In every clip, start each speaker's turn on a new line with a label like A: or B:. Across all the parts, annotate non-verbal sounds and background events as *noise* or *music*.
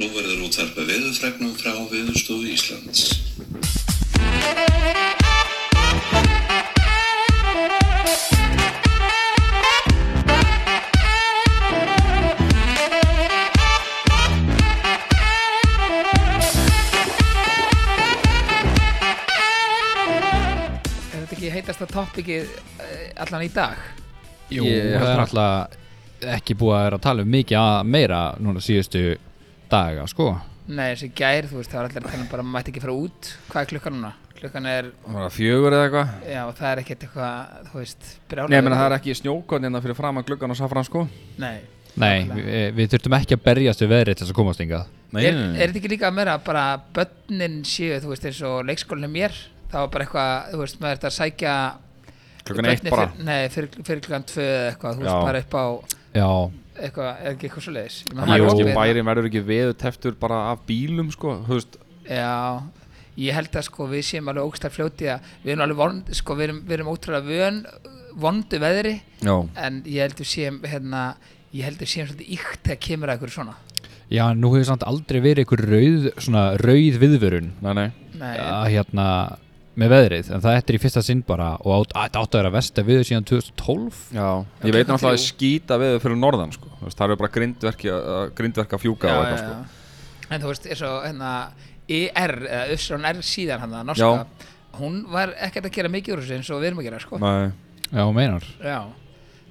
A: Nú verður útvarpa veðurfregnum frá Veðurstofu Íslands.
B: Er þetta ekki heitast að toppikið eh, allan í dag?
C: Jú, það
D: Ég
C: er
D: held
C: alltaf ekki búið að vera að tala um mikið að meira núna síðustu daga, sko.
B: Nei, þessi gær, þú veist, það var allir að tala um bara að maður mætti ekki fara út. Hvað er klukkan núna? Klukkan er,
D: Það var fjögur eða eitthvað
B: já, það er ekkert eitthvað, þú veist, brjálæði.
D: Nei, ég meina það er ekki snjókon hérna fyrir framan gluggan og safran sko
B: Nei.
C: Nei, við, við þurftum ekki að berjast við veðrið til þess að komast yngað.
B: Er, er þetta ekki líka að meira að bara börnin séu, þú veist, eins og leikskólinni mér? Það var bara eitthvað, þú veist, maður þetta að sækja...
D: Klukkan eitt
B: börnin
D: bara
B: Fyrir, nei, fyrir, fyrir klukkan tvö eða eitthvað, þú
D: Já.
B: veist, bara upp á
C: Já,
B: eitthvað, er ekki eitthvað svo leiðis?
D: Það er
C: Jú.
D: kannski bærin verður ekki veður teftur bara af bílum sko Þú veist,
B: Já, ég held að sko við séum alveg ógstað fljótið að við erum alveg vond, sko við erum, við erum ótrúlega vön, vondu veðri
D: já
B: en ég held að séum hérna, ég held að séum svolítið ykt þegar kemur að ykkur svona.
C: já nú hefur samt aldrei verið einhver rauð, svona rauð viðvörun
D: Nei, nei
B: Nei,
C: að hérna með veðrið, en það eftir í fyrsta sinn bara og átt- þetta átt að vera versta viður síðan 2012
D: Já,
B: Já,
D: ég veit
B: klukkan
D: náttúrulega að
B: þrjú.
D: skýta veður fyrir norðan sko Þú veist, Það eru bara grindverki, að- grindverka fjúka og eitthvað sko
B: já. En þú veist, eins og hérna ER, eða Össrón R síðan hann, norska, hún var ekkert að gera mikið úr þessu eins og við erum að gera, sko.
D: Nei,
C: Já, hún meinar
B: Já,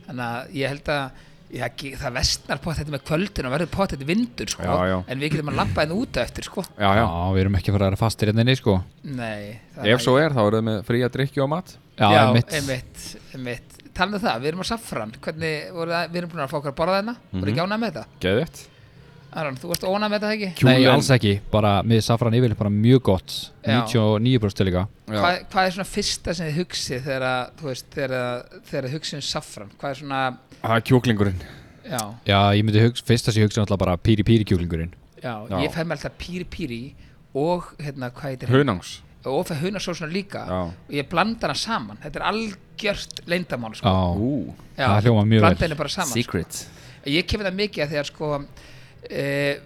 B: þannig að ég held að Já, ge- það vestnar pott þetta með kvöldin og verður pott þetta vindur sko
D: Já, já.
B: en við getum að lampa hérna út eftir sko
D: já, já
C: við erum ekki að fara að vera fastir hérna inni sko
B: Nei það
D: Ef svo er, þá eru þau með fría drikki og mat
C: Já,
B: Já,
C: einmitt.
B: einmitt, einmitt. Talandi um það, við erum á Safran Hvernig, voru það, við erum búin að fá okkur að borða þeirna mm
C: Mhm.
B: -hmm. Voru ekki ánægð með þetta?
D: Geðvett
B: Aron, þú varst ónægð með þetta ekki?
C: Nei,
D: Kjúlen.
C: alls ekki, bara með safran yfirleitt bara mjög gott
B: Já.
C: 99% til líka
D: Já.
B: Hvað, hvað er svona fyrsta sem þið hugsið þegar að, þú veist, þegar að, þegar þið hugsið um Safran? Hvað er svona,
D: Það er kjúklingurinn
B: já,
C: Já, ég myndi hugsa, fyrsta sem ég hugsa alltaf bara píri píri kjúlingurinn
B: já,
D: Já.
B: ég fæði með alltaf píri píri og hérna, hvað heitir
D: Hunangs
B: Og fæði hunasósuna líka
D: Já.
B: og ég blanda hana saman Þetta er algjört leyndamál, sko
C: Já,
D: Ú,
B: Já,
C: það hljómar mjög
B: blanda
C: vel.
B: henni bara saman sko.
D: secret
B: Ég kemur það mikið að þegar sko uh,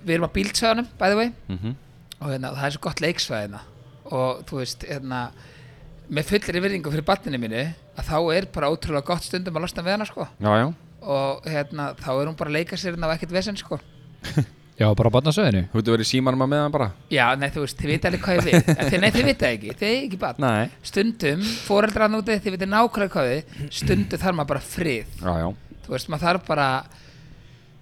B: við erum á bíltsvæðanum by the way
D: Mhm.
B: og hérna, það er svo gott leiksvæðina og þú veist hérna, með fullri virðingu fyrir barninu mínu að þá er bara ótrúlega gott stundum að losna við hana sko
D: Já, já
B: og hérna, þá er hún bara að leika sér hérna á ekkert vesen sko
C: já bara barnasöðinu
D: Þú veitur verið í símanum að með hann bara
B: Já, nei þú veist, þið vita alveg hvað ég við En þið, Nei, þið vita ekki, þið er ekki barn
D: Nei
B: Stundum, foreldran úti, þið vita nákvæmlega hvað við Stundum þarf maður bara frið
D: Já, já
B: þú veist, maður þarf bara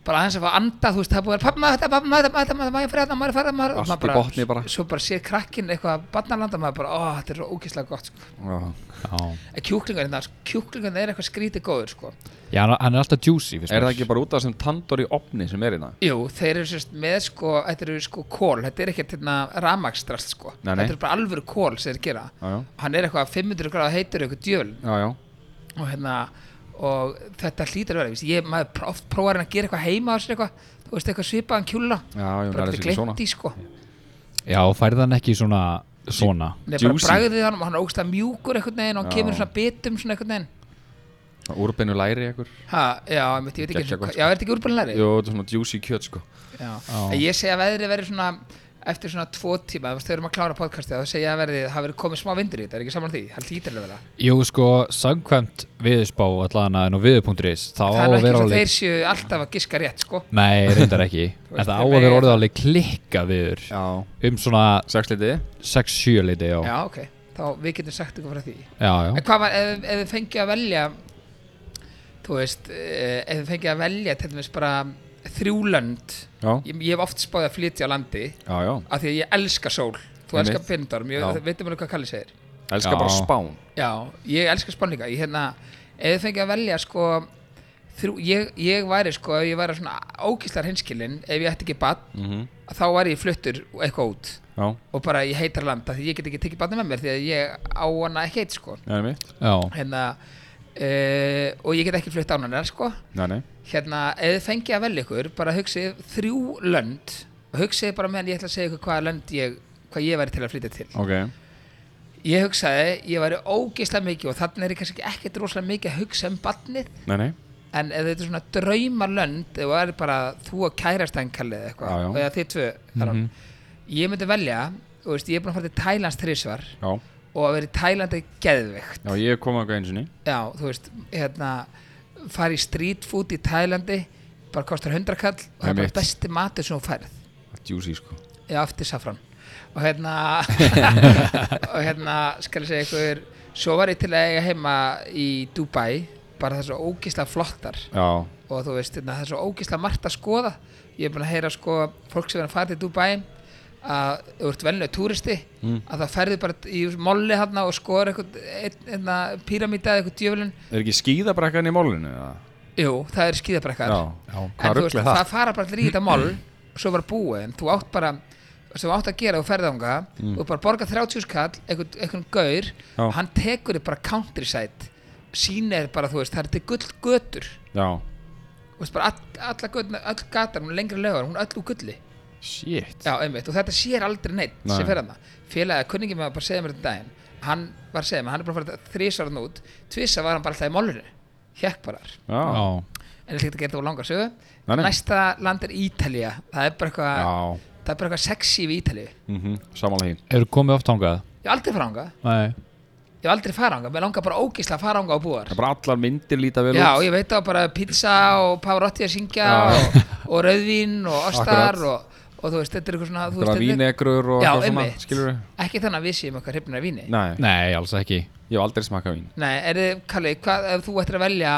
B: bara aðeins að fá að anda, þú veist, það er búið að pappa maður þetta, pappa maður þetta, maður þetta, maður maður fyrir þetta, maður fyrir þetta, maður
D: Allt
B: maður
D: í botni bara.
B: Svo bara sér krakkin eitthvað að barnalanda, maður bara, ó, þetta er svo ógeðslega gott, sko.
D: Já,
C: Já,
B: En kjúklingarinn, það, kjúklingarinn er eitthvað skrítið góður, sko.
C: já hann hann er alltaf juicy fyrst
D: Er það ekki bara út af þessum tandor í opni sem er hérna?
B: Jú, þeir eru sérst með, sko, þetta eru sko kól, þetta er ekkert hérna ramagstrast, sko.
D: Nei, nei.
B: Þetta eru bara alvöru kól sem þeir gera.
D: Já, já
B: Hann er eitthvað 500 gráða heitur eitthvað djöl
D: Já, já
B: og hérna, og þetta hlýtur að vera, víst, ég, maður pr- oft prófar hann að gera eitthvað heima á sér eitthvað, þú veist, eitthvað svipaðan kjúla.
D: Já,
B: bara
D: já, það er
B: þetta
D: þessi ekki svona
B: glemt í sko
C: Já, færðan ekki svona, svona
B: Nei, bara
D: Juicy.
B: bragðið hann og hann er ógstað mjúkur einhvern veginn og hann
D: Já.
B: kemur í svona bitum svona einhvern veginn
D: Úrbeinu læri ykkur
B: ha, já, einmitt, ég veit ekki eins
D: Gekkja
B: og
D: gott, sko.
B: hvað- já, er þetta ekki úrbælinari?
D: Jú, þetta er svona juicy kjöt sko
B: ég segi að veðrið verið svona eftir svona tvo tíma, þú veist, þegar við erum að klára podcastið þá segja að verið, það hafi verið komið smá vindur í þetta er ekki saman því, það lítir alveg vera
C: Jú, sko, samkvæmt viðspá allan að en á viður.is þá á
B: það er nú
C: að
B: ekki
C: vera
B: svo
C: alveg
B: þeir séu alltaf að giska rétt sko
C: Nei, reyndar ekki En
B: veist,
C: það á
B: þeir
C: að vera
B: mega
C: orðið alveg klikka viður
D: Já
C: Um svona
D: Sexlitiði
C: 6-7 liti já.
B: já, ok, þá við getum sagt eitthvað frá því
C: já, já
B: en hvað var, ef, ef við fengið að velja þú veist, eh, ef við fengið að velja til dæmis bara þrjúlönd
D: Já,
B: ég, ég hef oft spáði að flytja á landi
D: já, já
B: af því að ég elska sól þú
D: Einmitt.
B: elskar Bindorm, ég
D: Já.
B: veitum alveg hvað Kalli segir
D: Elskar
C: Já.
D: bara spán
B: já, ég elska spán líka ég hérna, ef þið fengið að velja sko þrjú, ég, ég væri sko ef ég væri svona ókíslar hinskilin ef ég ætti ekki badn,
D: mm
B: þá væri ég fluttur eitthvað út
D: Já,
B: og bara ég heitar land af því ég get ekki tekið badni með mér því að ég á hana ekki heit sko
D: það er mitt
C: Já,
B: hérna, uh, og ég get ekki flutt á hana sko
D: Nei, nei
B: hérna, ef þið fengið að velja ykkur bara hugsið þrjú lönd og hugsið bara meðan ég ætla að segja ykkur hvaða lönd ég, hvað ég væri til að flytja til
D: Ok
B: ég hugsaði, ég væri ógeislega mikið og þannig er ég kannski ekkert rosalega mikið að hugsa um barnið
D: Nei, nei
B: en ef þetta er svona draumalönd ef það er bara þú og kærastænkallið eða eitthvað
D: Já, já. Mhm.
B: og eða þið tvö mm ég myndi velja, þú veist, ég er búin að fara til Tælans þrísvar
D: Já,
B: og að vera í Tælandi geðveikt
D: já ég kom að eitthvað einu sinni
B: já, þú veist, hérna fara í street food í Tælandi bara kostar 100 kall og það er
D: Einmitt.
B: bara besti matur sem þú færð
D: Það er Juicy sko
B: Já, aftur safran og hérna og hérna skal ég segja ykkur svo var ég til að eiga heima í Dubai bara það er svo ógisla flottar
D: Já,
B: og þú veist, hérna, það er svo ógisla margt að skoða ég er búin að heyra sko fólk sem er að fara til Dubai að ef þú ert velnöð túristi að það ferði bara í molli hérna og skoður eitthvað píramíta eða eitthvað djöflun
D: er ekki skíðabrekkan í málunni? eða?
B: jú, það er skíðabrekkar
D: Já,
C: Já.
B: en
D: hvað
B: þú veist,
D: ruggli
B: það?
D: það?
B: fara bara allir í þetta mál og svo var búið, en þú átt bara sem þú átt að gera þú ferð ánga mm. og bara borga 30 skall, einhvern, einhvern gaur
D: Já.
B: hann tekur þið bara countryside sýnir bara, þú veist, það er til gull götur
D: Já,
B: þú veist, bara all, alla götna, all gatar hún er lengri lögur, hún er öll úr gulli
D: shit
B: Já, einmitt, og þetta sér aldrei neitt
D: Nei.
B: sem fer hann félagið, kunningi með að bara segja mér þetta um daginn hann var að segja mér, hann er bara að fara þrísarðan út tvissa var hann bara alltaf í málunni hjekk bara þar
D: Já,
C: Já,
B: en ég ætla ekki að gera þetta á langa sögu
D: Nei, nei.
B: næsta land er Ítalía það er bara eitthvað
D: já,
B: það er bara eitthvað sexy við Ítalíu
D: mhm, samanlega hinn
C: eru komið oft ángað?
B: ég hef aldrei fara ánga
C: Nei
B: ég hef aldrei fara ánga mér langar bara ógisla að fara ánga á búar
D: Það er bara allar myndir líta vel
B: já
D: út
B: ég veit það bara pizza og Pavarotti að syngja
D: Já.
B: og, og rauðvín
D: *laughs*
B: og ostar
D: Akkurat.
B: og, og þú veist þetta er eitthvað svona þú
D: Það
B: veist,
D: er
B: þetta er-
D: vínegrur og
B: já
D: eitthvað svona,
B: einmitt
D: skilur við?
B: ekki þannig að við séum eitthvað hrifnir af víni
D: Nei,
C: Nei, alls ekki
D: ég hef aldrei smakað vín
B: nei er þið Kalli hvað ef þú ættir að velja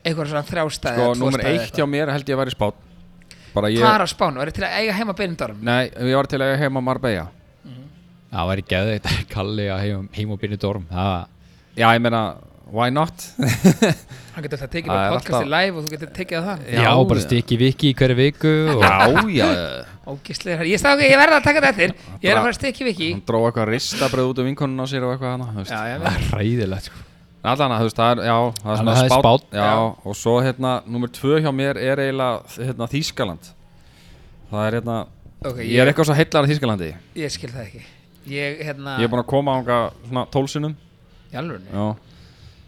B: eitthvað svona þrjástæði
D: Sko, nummer eitt hjá mér held ég að vera spátt Bara ég,
B: hvað er á spánu er þið til að eiga heima beinundarum
D: nei, ég var til að eiga heima Marbella
C: Það væri geðið Kalli að heim, heim og byrni dorm Það
D: Já, ég meina, why not?
B: hann getur alltaf tekið
D: Það
B: bara
D: er
B: podcasti live og þú getur tekið það
C: Já,
D: Já,
C: bara
D: já.
C: stikki viki í hverju viku og...
D: *laughs* já, já
B: Ógislega, ég, stá- ég verða að taka þetta eftir Ég er að fara að stikki viki
D: Hún dró eitthvað ristabröð út um vinkonun á sér og eitthvað hana, þú veist.
B: Já, já,
C: Það er ræðilegt sko.
D: Allan að þú veist, það er, já, það er
C: Þannig að það er
D: spánn-
C: spánn.
D: Já, og svo hérna, nummer tvö hjá mér er eiginlega hérna, Þýskaland Það er hérna,
B: ok,
D: ég, er
B: ég,
D: eitthvað svo heillar að Þýskalandi
B: ég skil það ekki Ég, hérna,
D: Ég er búin að koma ánga svona tólsunum
B: í alvörunni
D: Já,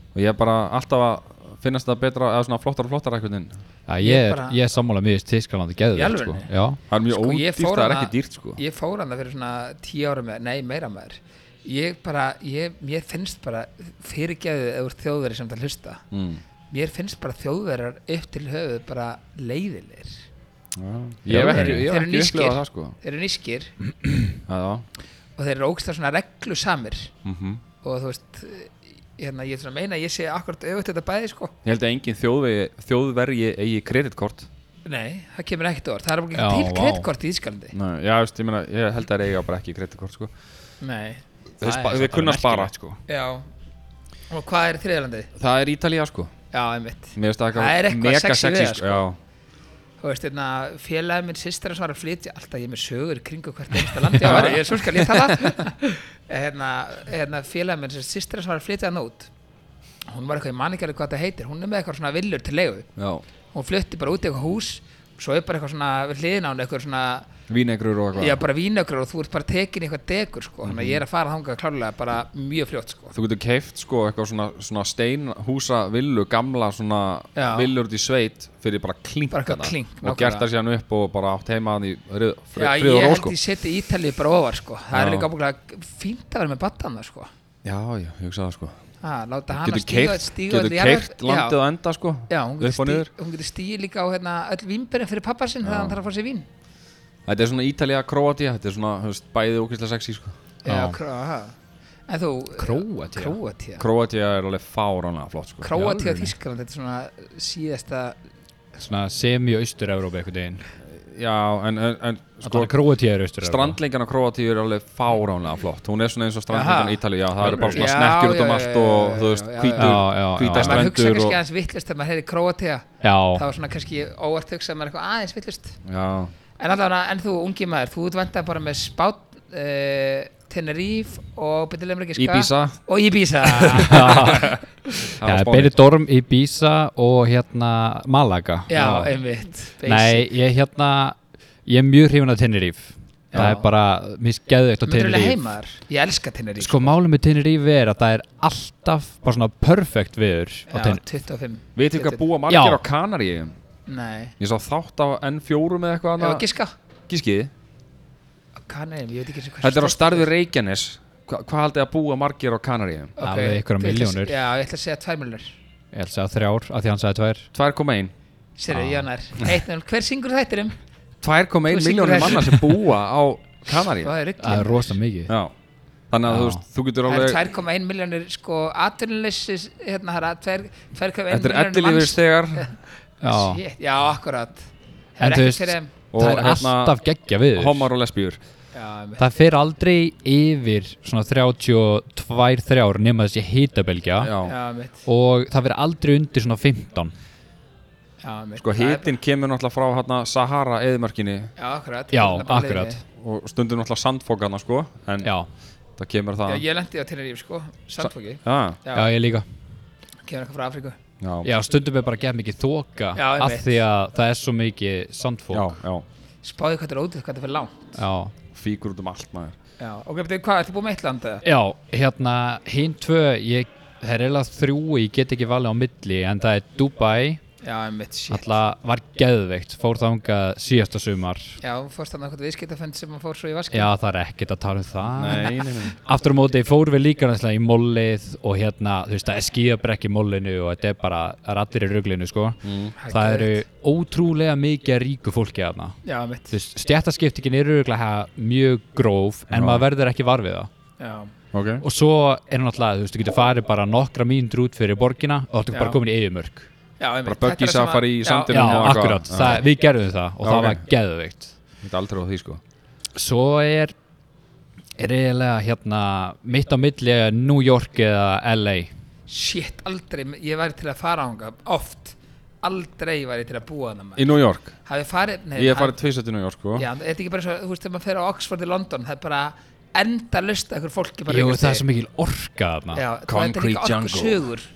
D: og ég er bara alltaf að finnast það betra, eða svona flottar og flottar eitthvað
C: Já,
B: Ég
C: ég, er,
B: bara-
C: ég er sammála mjög Tískalandi
B: Í
C: geðið
B: alvöru?
C: sko. Já,
D: Það er mjög
B: Sko, ég
D: ódýrt,
B: fór
D: það er
B: hana-
D: ekki dýrt sko
B: Ég fór hann það fyrir svona tíu ára með Nei, meira maður Ég bara, ég, mér finnst bara Fyrirgeðu ef þú ert þjóðveri sem það hlusta
D: mm.
B: Mér finnst bara þjóðverar upp til höfuð Bara leiðilir
D: Ég hef
C: Þeir
D: ekki,
C: eru-
B: þeir
D: ég hef
B: eru
D: ekki
B: nískir.
D: upplifað það sko
B: Þeir eru nískir
D: Já, já,
B: og þeir eru ógislega svona reglu samir
D: mhm
B: Og þú veist, hérna, ég er svona að meina að Ég sé akkurat öfutt þetta bæði, sko
D: Ég held að engin þjóðvegi, þjóðvergi eigi kreditkort
B: Nei, það kemur ekkert orð Það er bara
C: Já,
B: ekki til
C: vá.
B: kreditkort í Ískalandi
D: Nei, Já, veist, ég, meina, ég held að það eiga bara ekki kreditkort sko.
B: Nei,
C: er
D: Þeir spa-
C: samt
D: Þeir
C: alveg
D: kunna að spara
C: merkilegt,
D: sko.
B: Já Og hvað er þriðlandið?
D: Það er Ítalía sko.
B: Já, einmitt
D: Mér finnst það
B: Það er
D: eitthvað
B: eitthvað
D: mega
B: sexy við
D: sexy
B: það,
D: sko. Já,
B: Þú veist, hérna, félagið minn sýstir hans var að flytja Alltaf ég er með sögur í kringu hvert einsta landi á verið Ég er svo skal ég tala Hérna, hérna félagið minn sýstir hans var að flytja hann út Hún var eitthvað, ég man ekki alveg hvað það heitir Hún er með eitthvað svona villur til leigu
D: já.
B: Hún flytti bara út í eitthvað hús Svo er bara eitthvað svona, við hliðin á hún eitthvað svona
D: Vínegrur og eitthvað
B: Já, bara vínagrur og þú ert bara tekin í eitthvað degur sko. Þannig að
D: Mhm.
B: ég er að fara þangað klárlega bara mjög fljótt sko.
D: Þú getur keift sko, eitthvað svona, svona steinhúsa villu, gamla svona
B: Já.
D: villur út í sveit fyrir bara klink
B: Bara eitthvað klink, nákvæmlega.
D: og gert það síðan upp og bara átt heima hann í rið- fri-
B: Já,
D: frið
B: ég
D: og ró
B: held
D: sko.
B: ég seti Ítalið bara ofar sko. Það er
D: Já.
B: líka ábúinlega fínt að vera með battana sko.
D: Já, já, ég hugsa það sko.
B: ha, Láta hana
D: Getur
B: stíga,
D: keift,
B: stíga öll
D: getur
B: jarðar-
D: keift
B: já,
D: landið á enda sko.
B: já, hún getur,
D: upp og niður.
B: stíg, hún getur stíð líka á hérna, öll vimberinn fyrir pappa sinn þegar hann þarf að fá sér vín
D: Þetta er svona Ítalija, Kroatia, þetta er svona þú veist, bæði ókvæmstlega sexy sko.
B: Já,
C: Já.
B: kró, ha. En þú
C: Króatía?
B: Króatía
D: Króatía er alveg fáránlega flott sko.
B: Króatía og Þískaland, þetta er svona síðasta
C: svona semi-austur-Európa einhvern veginn
D: Já, en, en, en
C: Sko,
D: sko,
C: Króatía er austur-Európa
D: strandlingjan á Króatíu er alveg fáránlega flott Hún er svona eins og strandlingjan
B: Jaha.
D: í Ítalíu Já, það eru bara svona
B: Já,
D: snekkjur út um
B: já,
D: allt
B: já,
D: og
B: já,
D: þú veist,
B: já, já,
D: hvítur,
C: já, já,
D: hvítar
B: En
C: já.
B: maður hugsa
D: strendur
B: kannski
D: og
B: aðeins vittlust þegar maður heyri Króatía *laughs* Það
C: *laughs* Já,
B: var svona kannski óvart hugsa að maður eitthvað aðeins vittlust
D: Já,
B: En allavega, en þú ungi maður, þú ert vantað bara með spát, uh, Tenerife og byrjulegum ekki
D: Ibiza
B: Og
C: *laughs*
B: Ibiza
D: var
C: ja,
D: Spáni.
C: Benidorm, Ibiza og hérna Malaga
B: Já, einmitt basic.
C: Nei, ég hérna Ég er mjög hrifun af Tenerife það er bara, mér skeðu eitt á
B: myndur alveg
C: Tenerife.
B: heima þar, ég elska Tenerife
C: Sko málum með Tenerife er að það er alltaf bara svona perfect viður á
B: já,
C: Tenerife
B: 25
D: Við þykka
B: 20.
D: búa margir
C: Já.
D: á Kanaríum
B: nei,
D: Ég sá þátt á N4 með eitthvað
B: ef að
D: annað
B: giska
D: Gískiði
B: Kanarim, ég veit ekki hvað
D: Þetta er á starfi Reykjanes Hva, Hvað haldið að búa margir á Kanaríum?
C: Alveg einhverjar milljónir.
B: já, ég ætla að segja 2 miljónir
C: Ég held að segja þrjár, af því hann sagði tvær
D: 2,1
B: Sérðu, ah. Jónar, 1-0, hver syngur þættir um?
D: 2,1
B: Þú syngur
D: miljónir
B: þess.
D: manna sem búa á Kanaríum
B: Það er
C: Það er
B: ruggið
C: rosa mikið
D: Já Þannig að
C: Já.
D: þú veist, þú getur
B: Það
D: alveg
B: er 2,1 miljónir sko atvinnulegsis hérna það er 2,1
D: Þetta er
B: milljónir manns-
D: ellilífurstegar
C: Já,
B: Shit, Já, akkurat Það er
C: En þú
B: ekkert
C: veist-
B: fyrir þeim
D: og
C: það er
D: hérna-
C: alltaf geggja viður
D: Homar og lesbíur
B: Já, einmitt.
C: Það fer aldrei yfir svona 32 þrjár nema þessi hitabelgja
D: Já
B: Já, mitt
C: og það fer aldrei undir svona 15
B: Já, mitt
D: Sko hitin kemur náttúrulega frá hérna Sahara eðimörkinni
B: Já, akkurat
C: Já,
B: Hérna bara
C: akkurat.
B: leiðinni.
D: og stundur náttúrulega sandfókana sko en
C: Já,
D: það kemur það
B: Já, ég lendi á Tenerife sko Sandfóki
D: Já,
B: Já,
C: já ég líka
B: kemur eitthvað frá Afríku
D: já,
C: Já, stundum er bara að gefa mikið þoka
B: Já,
C: af
B: einmitt.
C: því að það er svo mikið sandfók
D: já, já.
B: Spáðu hvað þetta er ótrúð, hvað þetta er fyrir langt
C: Já,
D: fíkur út um allt
C: *laughs*
D: maður
B: Já, ok, betur hvað, ertu búið með eitt land eða?
C: Já, hérna, hinn tvö, ég, það er eiginlega þrjú, ég get ekki valið á milli, en það er Dubai,
B: Já, mitt, shit
C: alltaf var geðveikt, fór þangað síðasta sumar.
B: Já, þú fórst hann eitthvað viðskiptafönd sem hann fór svo í vaskinn
C: Já, það er ekkert að tala um það.
D: Nei, nei, nei
C: Aftur á móti fór við líka næslega í mollið og hérna, þú veist, það er skíðabrekk í mollinu og þetta er bara, það er allir í ruglinu, sko.
D: Mm.
C: Það eru ótrúlega mikið af ríku fólki af það.
B: Já, mitt
C: Þú veist, stjættaskiptingin eru ruglega mjög gróf, en
D: Já.
C: maður verður ekki var við það.
B: Já,
D: Ok
C: og svo er hann alltaf, þú veist, þú getur farið bara nokkra mínútur út fyrir borgina og þú
B: Já.
C: ert bara komin í eigumörk
B: já, einmitt
D: Bara
B: Þetta er
D: buggy
B: það sem
D: safari
B: að-
D: í
B: Já,
C: Já,
D: sandinum. og eitthvað.
C: akkurat,
D: Já.
C: það, við gerðum það og
D: Já,
C: það
D: ok.
C: var geðveikt
D: Ég er aldrei á því sko
C: Svo er er eiginlega hérna mitt á milli er New York eða LA
B: Shit, aldrei, ég væri til að fara ánga oft, aldrei væri ég til að búa þannig
D: Í New York
B: Hafið farið, nei,
D: Ég hef farið tvisat í New York sko
B: Já, er þetta ekki bara svo, þú veist, þegar maður fer á Oxford í London, það er bara enda lust að ykkur fólki bara
C: Jú,
B: einhvers
C: það er
B: staðar.
C: svo mikil orka þarna
B: Já, Concrete
C: Já,
D: Concrete
B: Jungle Það er ekki
D: Jungle.
B: okkur sögur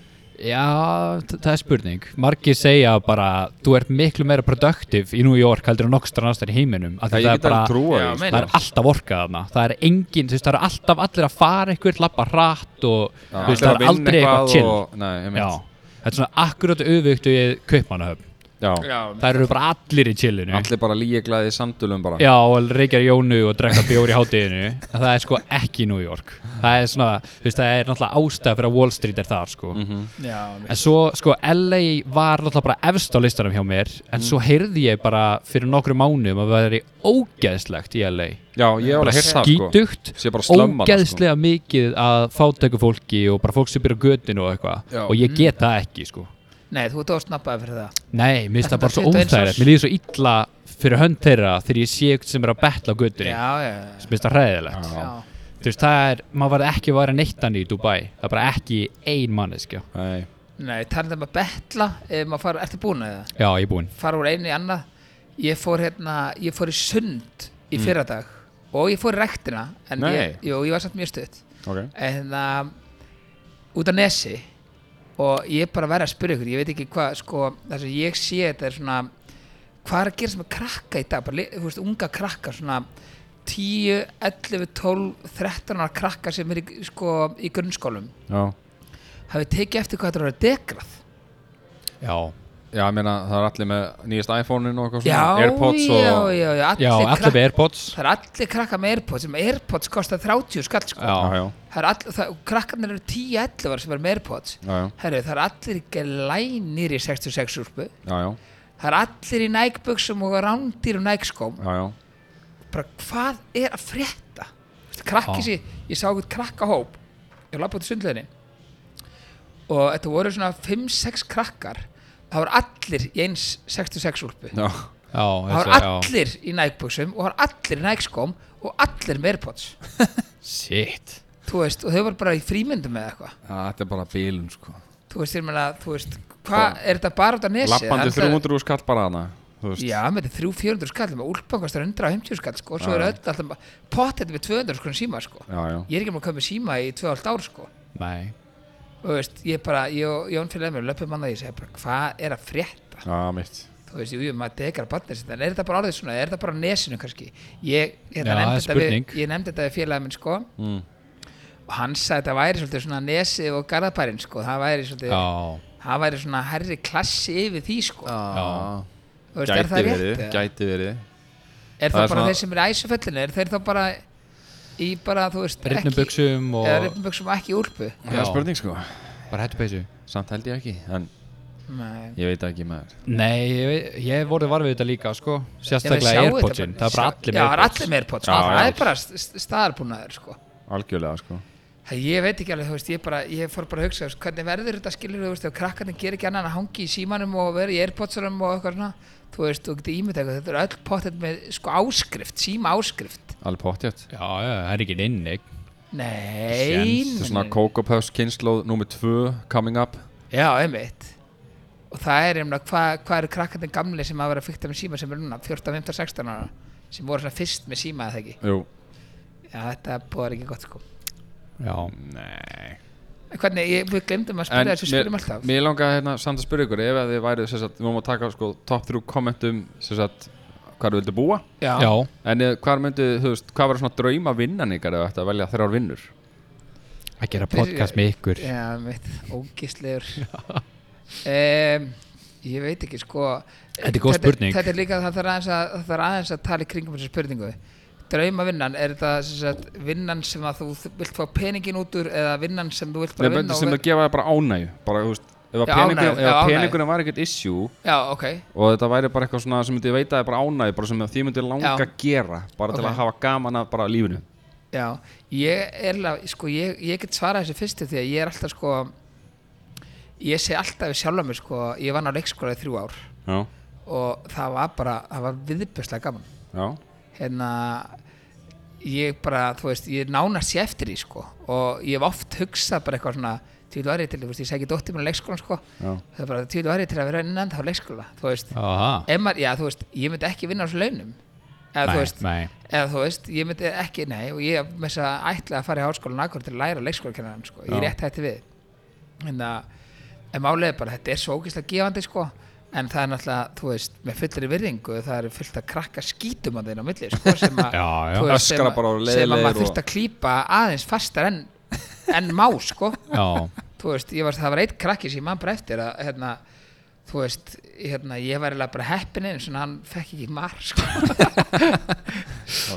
C: þ- það er spurning Margir segja bara, þú ert miklu meira productive í New York heldur en nokkstran aðstæðar í heiminum af
D: Það
C: því
D: ég
C: það er
D: get alveg
C: bara,
D: trúa
B: Já,
D: því
B: meina.
C: það er alltaf orka þarna það er engin, þú veist, það er alltaf allir að fara einhver, lappa hratt og
D: Já,
C: þú veist,
D: allir
C: það
D: að
C: er
D: vinna
C: aldrei eitthvað chill
D: og- Nei, ég
C: Já,
D: meint
C: þetta er svona akkurat auðvögt við kaupmannahöfn.
D: Já
C: Það eru bara allir í chillinu.
D: Allir bara líeglaði í sandulum bara
C: Já, og reykjar jónu og drekka bjóri í hátíðinu. En það er sko ekki New York. Það er svona, þú veist, það er náttúrulega ástæða fyrir að Wall Street er þar, sko.
D: Mhm.
B: Já,
C: En svo, sko, LA var náttúrulega bara efst á listanum hjá mér, en
D: Mhm.
C: svo heyrði ég bara fyrir nokkru mánuðum að það er ógeðslegt í LA.
D: Já, ég hef
C: Bara
D: alveg heyrt það sko
C: skítugt,
D: Sé bara sko. slömman
C: ógeðslega mikið að fátöku fólki og bara fólk sem byrja götinu og
D: Já.
C: eitthvað. Og ég get það ekki, sko.
B: nei, þú ert ósnappaði fyrir það
C: Nei, mér finnst það bara svo
B: 21 árs.
C: óþægilegt Mér líður svo illa fyrir hönd þeirra þegar ég sé eitthvað sem er að betla á
B: Já,
C: göttunni Mér
B: já,
C: finnst það hræðilegt
B: já, já.
C: Þú veist, það er, maður verði ekki að vera neittan í Dubai Það er bara ekki ein manneskja
D: sko. Nei
B: Nei, talandi um að betla ef maður fara, ertu búin að það?
C: Já, ég er búinn
B: Fara úr einu í annað Ég fór hérna, ég fór í sund í fyrradag og ég fór í rektina en
D: Nei.
B: ég, jú, ég var samt mjög stutt
D: Ok
B: en það út á nesi og ég er bara að vera að spyrja ykkur ég veit ekki hvað, sko, það sem ég sé þetta er svona, hvað er að gera sem að krakka í dag, bara, li- þú veist, unga krakka svona 10, 11, 12 13 ára krakka sem er í, sko, í grunnskólum
D: Já
B: hafið tekið eftir hvað þetta er að vera degrað
C: Já,
D: Já, ég meina það er allir með nýjast iPhone-in og eitthvað
B: já,
D: svona Airpods
B: já,
D: og
B: já, já,
C: já, allir
B: krakka
C: með Airpods
B: það er allir krakka með Airpods sem Airpods kostar 30 skall sko.
C: Já.
D: já,
B: það er all, það, krakkarnir eru 10, 11 ára sem er með Airpods
D: já, já,
B: Herru, það er allir ekki lænir í 66 úrpu.
D: já, já,
B: Það er allir í nækbuksum og rándir og nækskóm.
D: já, já.
B: Bara hvað er að frétta? Veistu, Krakki
C: Já.
B: sér, ég sá eitthvað krakkahóp. Ég lappa út í sundleginni. Og þetta voru svona 5-6 krakkar. Það voru allir í eins 66 úrpu.
D: já.
C: Já,
B: Það voru
C: þessi, já
B: allir í nækbuksum og það voru allir í nækskóm og allir með Airpods.
C: Shit
B: Þú veist, og þau voru bara í frímyndum með eitthvað.
D: Já, Þetta er bara bílun sko
B: Þú veist, ég meina, þú veist,
C: Sko,
B: hvað, er þetta bara út af nesið? Það er
D: Lappandi
B: alltaf-
D: 300 skall bara hana Þú veist
B: Já, með þetta er 300-400 skall með úlpangast er 150 skall sko, og svo er öll alltaf bara- pottet með 200 sko síma sko.
D: já, já.
B: Ég er ekki maður að koma með síma í 2,5 ár sko.
C: Nei
B: Og þú veist, ég bara, ég og Jón fyrir mér löpum annað í segi bara, hvað er að frétta?
D: já mitt
B: þú veist, jú, jú, maður dekar að barnið sitt en er þetta bara orðið svona, er þetta bara á nesinu kannski ég,
C: Já,
B: hérna, nefndi
C: það er
B: þetta við,
C: spurning.
B: ég nefndi þetta við félagið minn sko
D: Mm.
B: og hann sagði þetta væri svolítið svona nesið og garðabærin sko, það væri svolítið
C: Já,
B: það væri svona herri klassi yfir því sko
C: Já.
B: Þú veist, er
D: Gæti
B: það
D: verið,
B: rétt? eða?
D: gæti verið
B: er
D: það
B: það, bara
D: er svona-
B: þeir sem eru í æsuföllinu er þeir þá bara í bara, þú veist,
C: rinnum buksum og
B: eða rifnum buksum og ekki í úlpu
D: Það
C: Já.
D: er spurning sko
C: bara hættu peysu
D: Samt held ég ekki, en
B: Nei.
D: ég veit ekki maður
C: Nei, ég, vei- ég hef voruð varfið þetta líka sko
B: Ég
C: Sérstaklega
B: meina, sjáu
C: Airpodsin,
B: þetta
C: það er bara allir
B: Já,
C: með
B: það er
C: Airpods
B: allir með Airpods
D: Já,
B: Það
D: já.
B: er bara st- st- staðarpúnaður sko.
D: Algjörlega sko
B: Það ég veit ekki alveg, þú veist, ég, bara, ég fór bara að hugsa þú veist, hvernig verður þetta skilur, þú veist, ef krakkarnir gerir ekki annan að hangi í símanum og vera í Airpodsunum og eitthvað svona, þú veist, þú getur ímyndað eitthvað, þetta er öll pottet með sko áskrift, síma áskrift
D: Alveg pottjætt
C: Já, já, það er ekki inn, ekki
B: Nei,
D: Þetta er
B: nei,
D: svona
B: nei.
D: Coco Puffs kynnslóð nummer 2 coming up
B: Já, einmitt Og það er einmitt, hvað hva eru krakkarnir gamli sem að vera að fykta með síma sem er núna, 14, 15, 16 ára sem voru svona fyrst með síma eða ekki
D: Jú
B: Já, þetta búið ekki gott sko
C: Já,
D: Nei
B: Hvernig, ég, við glemdum að spyrja þessu spyrjum alltaf
D: Mér langaði hérna samt að spyrja ykkur ef að þið væruð sem sagt, við máum að taka sko top 3 kommentum sem sagt hvað þið vildu búa
B: Já,
C: já,
D: en eh, hvað myndu, þú veist, hvað var svona drauma vinnan ykkar ef þetta að velja þrjár vinnur
C: að gera podcast með ykkur
B: Já, mitt, ógistlegur um, Ég veit ekki, sko
C: Þetta er góð spurning.
B: Þetta er líka, það þarf aðeins að, það þarf aðeins að tala í kringum þessu spurningu Draumavinnan, er þetta sem sagt, vinnan sem að þú vilt fá peningin út úr eða vinnan sem þú vilt bara
D: Nei,
B: vinna
D: myndu sem
B: og
D: að gefa þér bara ánægju bara, þú veist, ef að
B: Já,
D: peningunum,
B: ánægju,
D: ef
B: já,
D: að
B: ánægju.
D: peningunum var ekkert issue
B: Já, ok,
D: og þetta væri bara eitthvað svona sem myndi veita þér bara ánægju bara sem því myndi langa
B: Já.
D: að gera bara til
B: Ok.
D: að hafa gaman að bara lífinu
B: já Ég er, alveg- sko, ég, ég get svarað þessu fyrstu því að ég er alltaf, sko Ég segi alltaf við sjálfum mér, sko Ég vann á leikskóla í þrjú ár
D: Já,
B: og það var bara, það var viðbjörslega gaman
D: já,
B: hérna ég bara, þú veist, ég nánast sé eftir því sko og ég hef oft hugsað bara eitthvað svona til var ég til, þú veist, ég segi dóttir mér á leikskólan sko,
D: já
B: það er bara til var ég til að vera innan þá leikskóla, þú veist,
C: Aha,
B: ef maður, já, þú veist, ég myndi ekki vinna á þessu launum eða þú
C: nei,
B: veist,
C: nei
B: eða þú veist, ég myndi ekki, nei og ég með þess að ætla að fara í háskólan akkur til að læra leikskólakennarann, sko, ég
D: Já.
B: rétt hætti við en að en málið er bara, þetta er svo ógeðslega gefandi, sko en það er náttúrulega, þú veist, með fullri virðingu það eru fullt að krakka skítum á þeirn á milli, sko, sem
D: *laughs*
B: að
C: Já, já.
B: þú veist, sem
D: Öskra
B: að-
D: bara og
B: sem að
D: leiðilegir
B: maður
D: og-
B: þurft að klípa aðeins fastar en, en má, sko
D: *laughs*
C: Já,
B: þú veist, ég var, það var eitt krakki sem ég man bara eftir að, hérna, þú veist, hérna, ég var eiginlega bara heppin eins og hann fekk ekki marg, sko.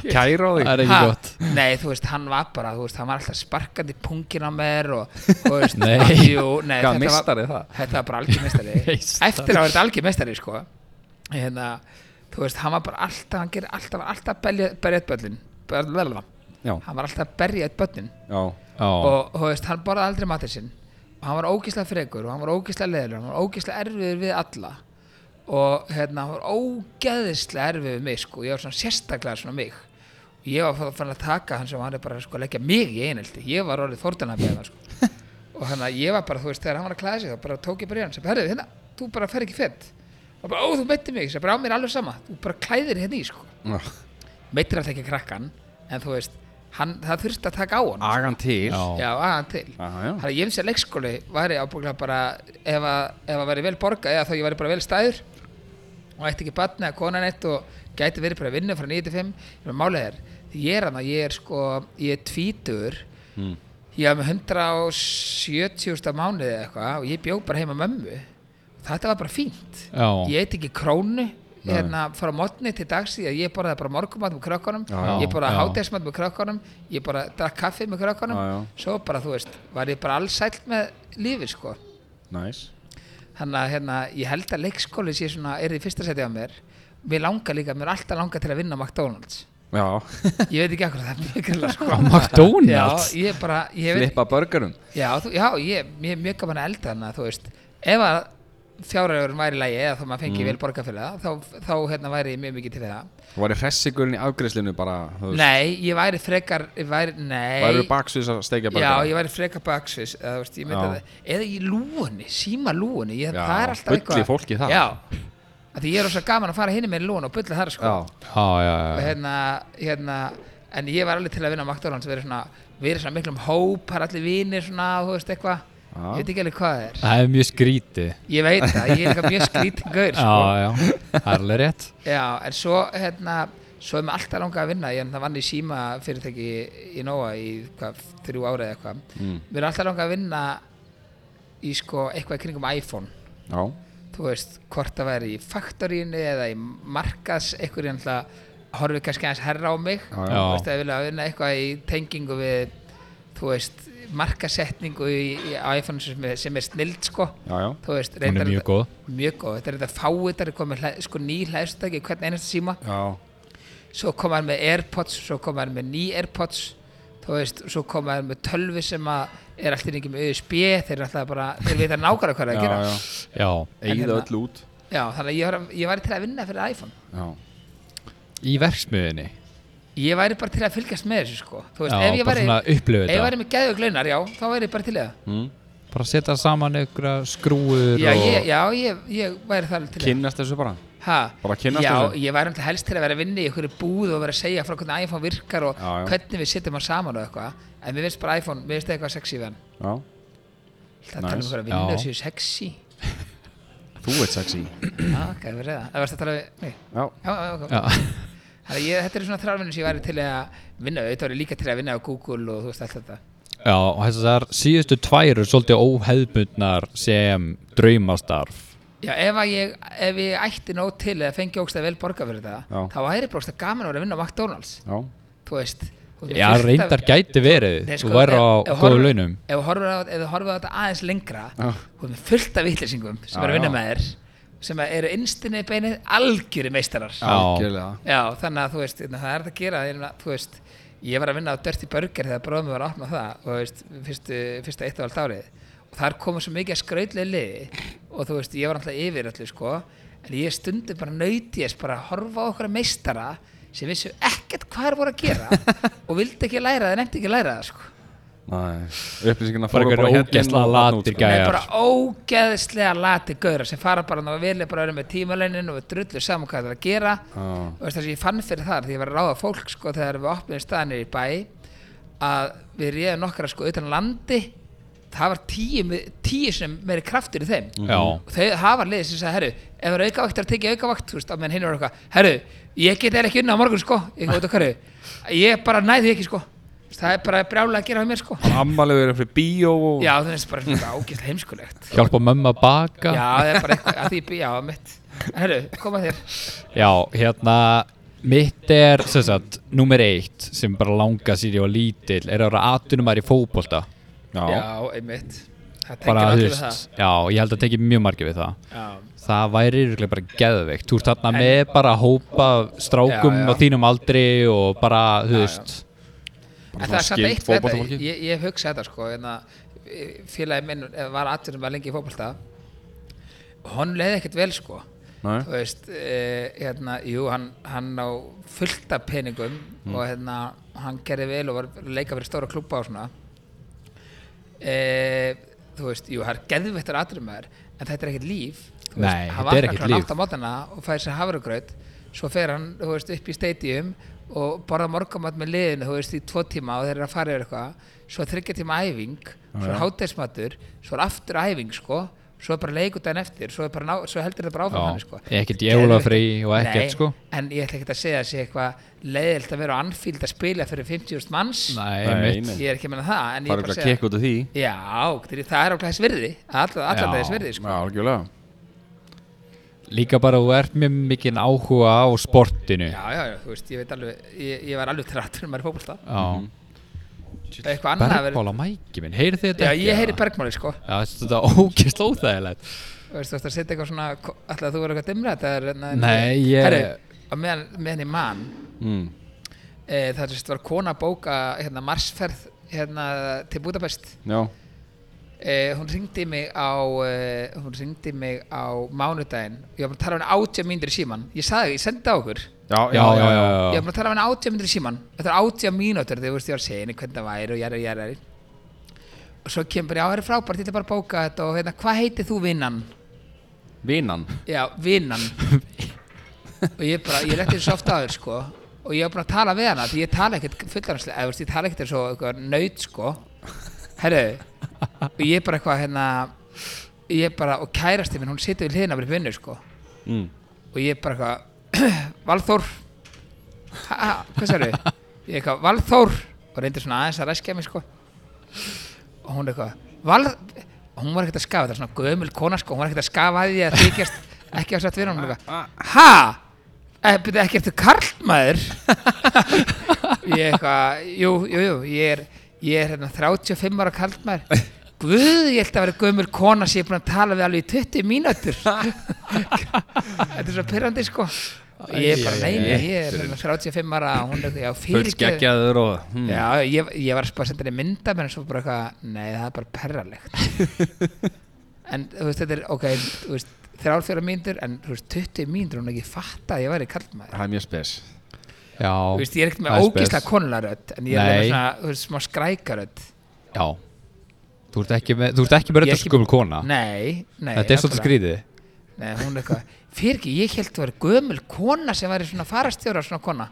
D: Kæra á
C: það er ekki
B: Ha?
C: gott
B: Nei, þú veist, hann var bara, þú veist, hann var alltaf sparkandi pungin á mér og, þú veist,
C: Nei.
B: að- jú, nei,
D: Hvað
B: þetta var,
D: mistari það?
B: þetta var bara algjör
C: *laughs*
B: mestari.
C: Meistari.
B: Eftir að verða algjör mestari, sko. Hérna, þú veist, hann var bara alltaf, hann gerir alltaf, var alltaf berjað berja börnin, berjað,
D: Já,
B: hann var alltaf berjað börnin
D: já,
C: Já,
B: og, þú veist, hann borðaði aldrei matið sinn og hann var ógíslega frekur og hann var ógíslega leður hann var ógíslega erfiður við alla og hérna, hann var ógeðislega erfiður við mig sko, ég var svona sérstaklega svona mig og ég var fa- farin að taka hann sem hann er bara sko að leggja mig í einhaldi ég var orðið fórtunafjæðan sko og hann að ég var bara, þú veist, þegar hann var að klæða sig þá bara tók ég bara í hann, sem herðu, hérna, þú bara fer ekki fett og bara, ó, þú meittir mig, sem bara á mér er alveg sama þú bara klæðir hérna í, sko
D: já.
B: meittir alltaf ekki krakkan, en þú veist hann, það þurfti að taka á hann
D: Agan til
C: já,
B: Já, aðan til
D: Aha, já.
B: Þannig að ég finnst að leikskóli væri ábúinlega bara ef að, ef að væri vel borga eða þá ég væri bara vel stæður og ætti ekki batni eða konan eitt og gæti verið bara að vinna frá 9-5 ég meina, málið er, því ég er hann ég er sko, ég er tvítur
D: Hmm.
B: ég var með 170.000 á mánuði eða eitthvað og ég bjó bara heima mömmu þetta var bara fínt
C: já,
B: ég eit ekki krónu hérna frá mótni til dags því að ég borðaði bara morgumat með krökkunum
D: Já,
B: ég borðaði
C: já.
B: hátæðismat með krökkunum ég bara drakk kaffi með krökkunum
D: Já, já.
B: svo bara þú veist, var ég bara allsælt með lífið sko
D: Næs
B: þannig að hérna, ég held að leikskóli sé svona, er í fyrsta seti á mér mér langar líka, mér er alltaf langar til að vinna á McDonalds
D: Já,
B: ég veit ekki akkur það er mjög grilla sko
C: Á McDonalds?
B: já, ég bara, ég veit
D: flippa börgarum
B: já, þú, já, ég, ég er mjög gaman að elda þannig að þú veist, ef að fjárhæðurinn væri í lagi eða þá maður fengi vel borga fyrir það þá, þá hérna væri ég mjög mikið til það
D: Mm. Þú væri hressigurinn í afgriðslinu bara þú veist,
B: Nei, ég væri frekar ég væri, Nei
D: Væri baksvís að steikja
B: Já,
D: börgarum
B: ég væri frekar baksvis eða, þú veist, ég myndi
D: Já.
B: að, eða í lúunni, síma lúunni ég,
D: Já,
B: það er alltaf
D: bulli
B: eitthvað
D: fólki það.
B: Já, af því ég er ósa gaman að fara hinni með lúun og bulli þar sko
D: Já,
C: já, já,
B: og
C: já.
B: hérna, hérna en ég var alveg til að vinna á McDonalds verið svona, verið svona miklum hóp, það er allir vinir svona, þú veist eitthvað
D: já, Já.
B: ég veit ekki alveg hvað það er
C: Það er mjög skrítið
B: ég veit það, ég er líka mjög skrítingur sko.
C: Já, já, það er alveg rétt
B: Já, en svo hérna svo er mér alltaf langað að vinna, ég hérna vann í síma fyrirtæki í Nóa í hvað, þrjú ára eða eitthvað
C: Mm.
B: mér er alltaf langað að vinna í sko eitthvað í kringum iPhone
D: Já,
B: þú veist, hvort það væri í faktorínu eða í markas eitthvað ég alltaf horfið kannski aðeins herra á mig
D: Já,
C: já.
B: þú veist, að vilja að vinna eitthvað í tengingu við þú veist, markasetningu í, í, á iPhone sem er, sem er snild sko
D: já, já
B: þú veist,
C: Hún
B: reyndar
C: er mjög
B: þetta-
C: góð
B: mjög góð, þetta er þetta fáitar komið hlæ, sko ný hlæðstæki, hvern einasta síma
D: Já,
B: svo kom hann með Airpods, svo kom hann með ný Airpods þú veist, svo kom hann með tölvi sem að er alltaf ekki með USB þeir eru alltaf bara, þeir veit að nákvæmlega hvað það er að
D: já,
B: gera
D: já.
C: Já,
D: Eigið
B: hérna-
D: öll út
B: já, þannig að ég var, ég var til að vinna fyrir iPhone
D: Já,
C: í verksmiðinni
B: ég væri bara til að fylgjast með þessu sko þú veist,
C: Já,
B: ef ég
C: bara
B: væri,
C: svona upplifa
B: ef ég
C: þetta.
B: væri með geðug launar, já, þá væri ég bara til í það
C: Bara setja saman ykkur skrúur
B: já,
C: og...
B: ég, já, ég, ég væri það alveg til í það
D: kynnast þessu bara
B: Ha,
D: Bara kynnast
B: já,
D: þessu?
B: ég væri alltaf helst til að vera að vinna í einhverju búð og vera að segja frá hvernig iPhone virkar og
D: Já, já.
B: hvernig við setjum hann saman og eitthvað en mér finnst bara iPhone, mér finnst eitthvað sexy við hann
D: Já,
B: Það tala um
D: Nice.
B: eitthvað að vinna
C: Já.
B: séu sexy
D: þú ert sexy
B: Já, gæði verið það Það varst að tala við Nei,
D: Já,
B: já, já, ok
C: Já,
B: Þannig að ég, þetta eru svona þrjárvinnur sem ég væri til að vinna við, Þetta var ég líka til að vinna á Google og þú veist allt þetta
C: já, og þessar síðustu tvær eru svolítið óhefbundnar sem draumastarf
B: Já, ef að ég, ef ég ætti nóg til eða fengi ógst að vel borga fyrir þetta
D: Já.
B: þá væri brókst að gaman að vera að vinna á McDonalds
D: já,
B: Þú veist þú veist,
C: Já,
B: fullt af-
C: reyndar gæti verið
B: Nei, sko,
C: Þú væri á
B: ef- ef
C: góðu
B: horfir-
C: launum
B: Ef þú horfir á- ef þú horfir á þetta aðeins lengra
D: Já.
B: þú erum fullt af vitlýsingum sem
D: Já,
B: eru að vinna
D: já.
B: með þér sem að eru innstinni beinið algjöri meistarar
C: Já.
D: algjörlega
B: Já, þannig að þú veist, hérna, það er þetta að gera ég meina, þú veist, ég var að vinna á Dirty Burger þegar bróðum var að opna það og þú veist, fyrstu, fyrsta eitt og allt árið og þar komu svo mikið að skrautlega liði og þú veist, ég var alltaf yfir allir sko en ég stundi bara nöytis bara að horfa á okkur meistara sem vissu ekkert hvað er voru að
C: *laughs*
B: gera og vildi ekki læra það, nefndi ekki að læra það sko
D: Nei, upplýsingina
C: Bara
D: fóru
C: einhverju
D: bara hérna
C: ógeðslega
D: og þarna út,
C: latir
D: sko.
C: gæjar.
B: Nei, bara ógeðslega lati gauðra sem fara bara náðu vilja bara vera með tímalaunin og við drullu saman hvað það er að gera
D: Já.
B: og veist það sem ég fann fyrir þar því ég var að ráða fólk sko þegar við opnum staðanir í bæ að við réðum nokkra sko utan landi það var tíu, mi- tíu sem meiri kraftur í þeim
C: Já,
B: og þau, það var liðið sem sagði, herru, ef það eru aukavaktur að tekja aukavakt, þú veist, á meðan hinn var eitthvað, herru, ég get eða ekki unna á morgun, sko, ég veit okkar, ég bara næði ekki, sko, það er bara brjálega að gera á mér, sko.
D: Ammali verið fyrir bíó og
B: Já, það er bara svona ágæslega heimskulegt
C: hjálpa mömmu að baka
B: Já, það er bara eitthvað að því býja á mitt Herru, koma þér
C: Já, hérna mitt er, sem sagt, nummer eitt sem bara langa sér ég var lítill er að vera atunumar í fótbolta
D: Já,
B: Já, einmitt Það
C: bara,
B: tengir
C: þú
B: allir við það
C: veist, já, ég held að tekið mjög margir við það það væri yfirlega bara geðveikt þú ert þarna með bara hópa af strákum
B: Já, já.
C: á þínum aldri og bara, þú veist
B: En það
D: svona
B: er samt
D: skyld
B: eitt við þetta,
D: fótboltafólki.
B: ég, ég hugsa þetta sko en að félagi minn eh, var aðtunum að lengi í fótbolta og honum leiði ekkert vel sko
D: Nei.
B: þú veist, eh, hérna, jú, hann, hann á fullt af peningum
C: Mm.
B: og hérna, hann gerði vel og var að leika fyrir stóra klubba og svona eh, þú veist, jú, hann er geðvættur aðtunum en þetta er ekkert líf þú
C: Nei, þetta
B: hann
C: er
B: vaknar
C: ekkert
B: klukkan
C: líf.
B: átta á mótana og fæði sér hafragraut svo fer hann þú veist, upp í stadium og borða morgamat með liðinu þú veist, í tvo tíma og þeir eru að fara yfir eitthvað svo er þriggja tíma æfing svo er hátæðismatur, svo er aftur æfing sko, svo er bara leikur daginn eftir svo, er bara, ná, svo heldur þetta bara áfram
C: Já,
B: hann sko.
C: ekkert jólafrí og ekkert,
B: Nei,
C: sko.
B: en ég ætla ekkert að segja að sé eitthvað leiðilt að vera á anfíld að spila fyrir 50.000 manns
C: Nei,
D: Nei,
C: einmitt.
D: nei.
B: ég er ekki að menna það en ég
D: það
B: er bara
D: er
B: að
D: ekki að
B: segja
D: kekka út af því
B: já, það er áklæðis virði allan
C: Já.
B: þess virði sko.
D: Já, algjörlega
C: líka bara þú ert með mikinn áhuga á sportinu
B: Já, já, já, þú veist, ég veit alveg, ég, ég var alveg trættur um að vera fókbalta.
C: Já.
B: Eitthvað annað að vera...
C: bergmál á mæki minn, heyrið þið
B: Já,
C: þetta
B: ég heyri
C: eða?
B: bergmáli, sko.
C: Já, þetta er ógeðslega óþægilegt
B: Þú veist, þú veist að setja eitthvað svona, alltaf að þú verður eitthvað dimra þetta er... hérna-
C: Nei, ég-
B: Herru, á meðan, meðan ég man,
D: mm.
B: e, það er sérst var kona að bóka, hérna, marsferð, hérna, til Budapest.
D: Já,
B: E, hún ringdi mig á, e, hún ringdi mig á mánudaginn. Ég var búin að tala um henni átja mínútur í síman. Ég sagði, ég sendi á okkur.
D: já,
C: Já, já, já,
B: Ég
C: já.
B: var búin að tala um henni átja mínútur í síman. Þetta er átja mínútur, þegar þú veist, ég var að segja henni hvernig það væri og jæri, jæri, jæri. Og svo kemur bara, já, það er frábært, ég ætla bara að bóka þetta og hérna, hvað heitir þú vinnan?
D: Vinan
B: Já, vinnan Og ég bara, ég leti þessu oft aður sko Og ég var búin að tala við hana Því ég tala ekkert fullaranslega Ég tala ekkert eins og eitthvað nöyt sko Herru, og ég bara eitthvað hérna ég bara, og kærasti minn, hún situr við hliðina fyrir vinnu sko
D: Mm.
B: og ég bara eitthvað *clears throat* Valþór ha, ha, hvað sér við? ég eitthvað Valþór og reyndi svona aðeins að ræskja mig sko og hún eitthvað Val og hún var ekkert að skafa þetta er svona gömul kona sko hún var ekkert að skafa að því að þykjast ekki að satt við hún hún eitthvað ha e, byrja ekki eftir karlmaður ég eitthvað jú, jú, jú ég er, ég er hérna 35 ára karlmaður Guð, ég held að vera gömul kona sem ég er búin að tala við alveg í 20 mínútur *laughs* Þetta er svo pyrrandi sko Og Ég er bara,
C: Æ,
B: nei, nei, ég er hérna 35 ára og hún er eitthvað, já,
D: Föld
B: fyrirgeðu
D: skeggjaður og mm.
B: Já, ég, ég var að spá að senda henni mynda menn svo bara eitthvað, nei það er bara
C: *laughs*
B: perralegt en þú veist þetta er ok, þú veist þrjálfjóra mínútur en þú veist 20 mínútur hún ekki fatta að ég væri kallmaður
D: Það er mjög spes
C: Já,
B: þú veist ég er ekkert
C: það
B: með
C: er
B: ógísla
C: spes.
B: konlarödd en ég er
C: Nei.
B: með svona, þú veist, smá skrækarödd
C: já Þú ert ekki með, þú ert ekki með
B: Ég
C: þetta
B: ekki-
C: skumul kona
B: Nei, nei
C: Ah. Þetta er
B: nákvæmlega.
C: svolítið skrýðið
B: Nei, hún er eitthvað, fyrir ekki, ég held þú væri gömul kona sem væri svona farastjóra svona kona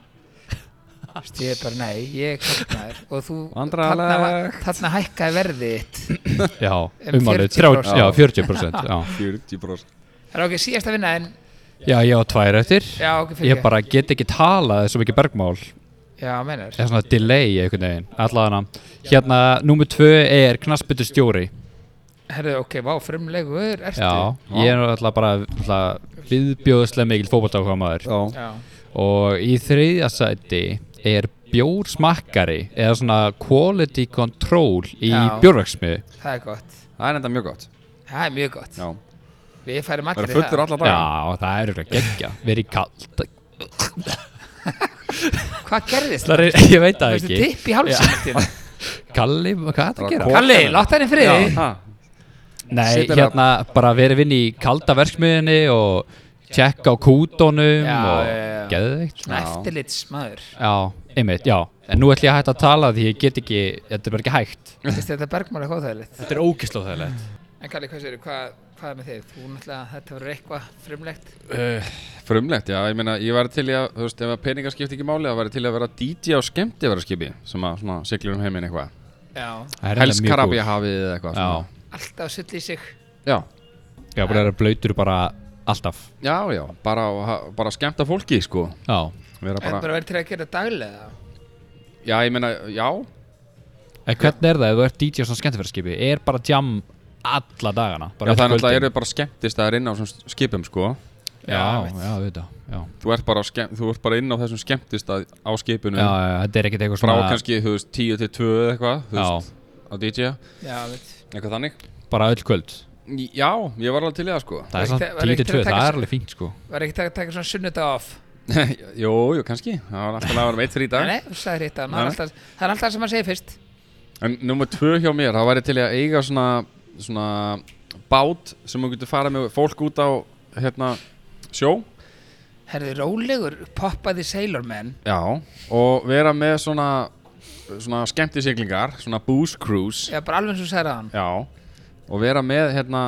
B: Þú veist, ég er bara, nei, ég er kallmaður og þú,
D: Vandræðalegt.
B: þarna- þarna hækkaði verðið þitt
C: Já,
B: Um
C: umálið,
B: 40%.
C: já, 40% já.
B: *laughs*
D: 40%
B: Það er ok, síðasta vinna en
C: já, ég á tvær eftir
B: Já, ok, fyrir
C: Ég bara get ekki talað svo mikið bergmál
B: Já, meinar
C: Það er svona delay einhvern veginn Allavega Hérna, númer tvö er knassbyttu stjóri
B: Herðu, ok, vá, frumlegur, ertu
C: Já, ég er alltaf bara alltaf viðbjóðslega mikil fótboltákvæða maður
D: Já
B: Já,
C: og í þriðja sæti er bjórsmakkari eða svona quality control í
B: Já.
C: bjórverksmiðu
B: það er gott
D: Það er enda mjög gott
B: Það er mjög gott
D: Já
B: Við færum
D: Það
B: allir
D: er
B: í
D: fullur
B: það
D: alla daga
C: Já, það er auðvitað geggja, verið kalt
B: Hvað gerðist?
C: Það er, *laughs* ég veit það
B: Veistu,
C: ekki
B: tipp í hálsum
C: Kalli, hvað er það að gera?
B: Kalli, látt hann í friði
D: ha.
C: Nei,
D: Situr
C: hérna bara verið vinn í kalda verksmiðinni og tjekka á kútonum
B: Já,
C: og
B: já, já.
C: geðveikt
B: Svona eftirlits maður
C: Já, einmitt, já En nú ætlum ég að hætta að tala því ég get ekki, þetta er bara ekki hægt
B: Veistu, þetta bergmál er hóðhæðilegt
C: Þetta er ógislega þærlegt
B: En Kalli, hvað séru, hvað, hvað er með þig? Þú náttúrulega, þetta verður eitthvað frumlegt
D: uh, Frumlegt, já, ég meina Ég væri til í að, þú veist, ef að peningar skipti ekki máli Það væri til í að vera DJ á skemmtifæraskipi Sem að svona siglir um heiminn eitthvað
B: Já,
D: Helst Karabíja hafið eða eitthvað
C: Já,
D: svona.
B: alltaf sull í sig
D: já,
C: já, bara er blöytur bara alltaf
D: já, já Bara, á- ha- bara skemmta fólki, sko
C: Já,
D: Vera
B: En
D: bara,
B: bara verður til að gera daglega
D: já, ég meina, já
C: en hvernig er það ef þú ert DJ á svona skemmtifæraskipi? Er bara jam alla dagana?
D: Já,
C: Bara
D: það er
C: öll
D: náttúrulega,
C: kvöldin?
D: eru bara skemmtist að inn á svona skipum, sko
C: Já, já, við þetta Já,
D: Þú ert bara, á skemm, þú ert bara inn á þessum skemmtist á skipinu
C: já, já, þetta er ekkert eitthvað
D: Frá
C: svona
D: Mm. kannski, þú veist, 10 til 2 eða eitthvað, þú
C: Já,
D: veist, á DJ-a
B: Já, veit
D: Eitthvað þannig
C: bara öll kvöld
D: Í- Já, ég var alveg til í það sko
C: Það
B: Var
C: er svona
B: ekki- var
C: 10
B: ekki
C: til
B: til
C: 2,
B: að taka
C: það
B: sér-
C: er alveg fínt sko
B: Var ekki að taka svona sunnudag off?
D: Jú, jú, kannski Það var alltaf að vera meitt fyrir í dag
B: Nei, þú sagðir hitt að hann, það er
D: Nei.
B: alltaf- það er alltaf sem hann segir fyrst
D: En nummer tvö hjá mér, það væri til í að eiga svona Svona bát sem þú getur farið með fólk út á Hérna, sjó
B: Herði rólegur, poppaði Sailor Man
D: Já Og vera með svona Svona skemmtisiglingar, svona booze cruise
B: Já, bara alveg eins og þú sagði hann
D: Já Og vera með hérna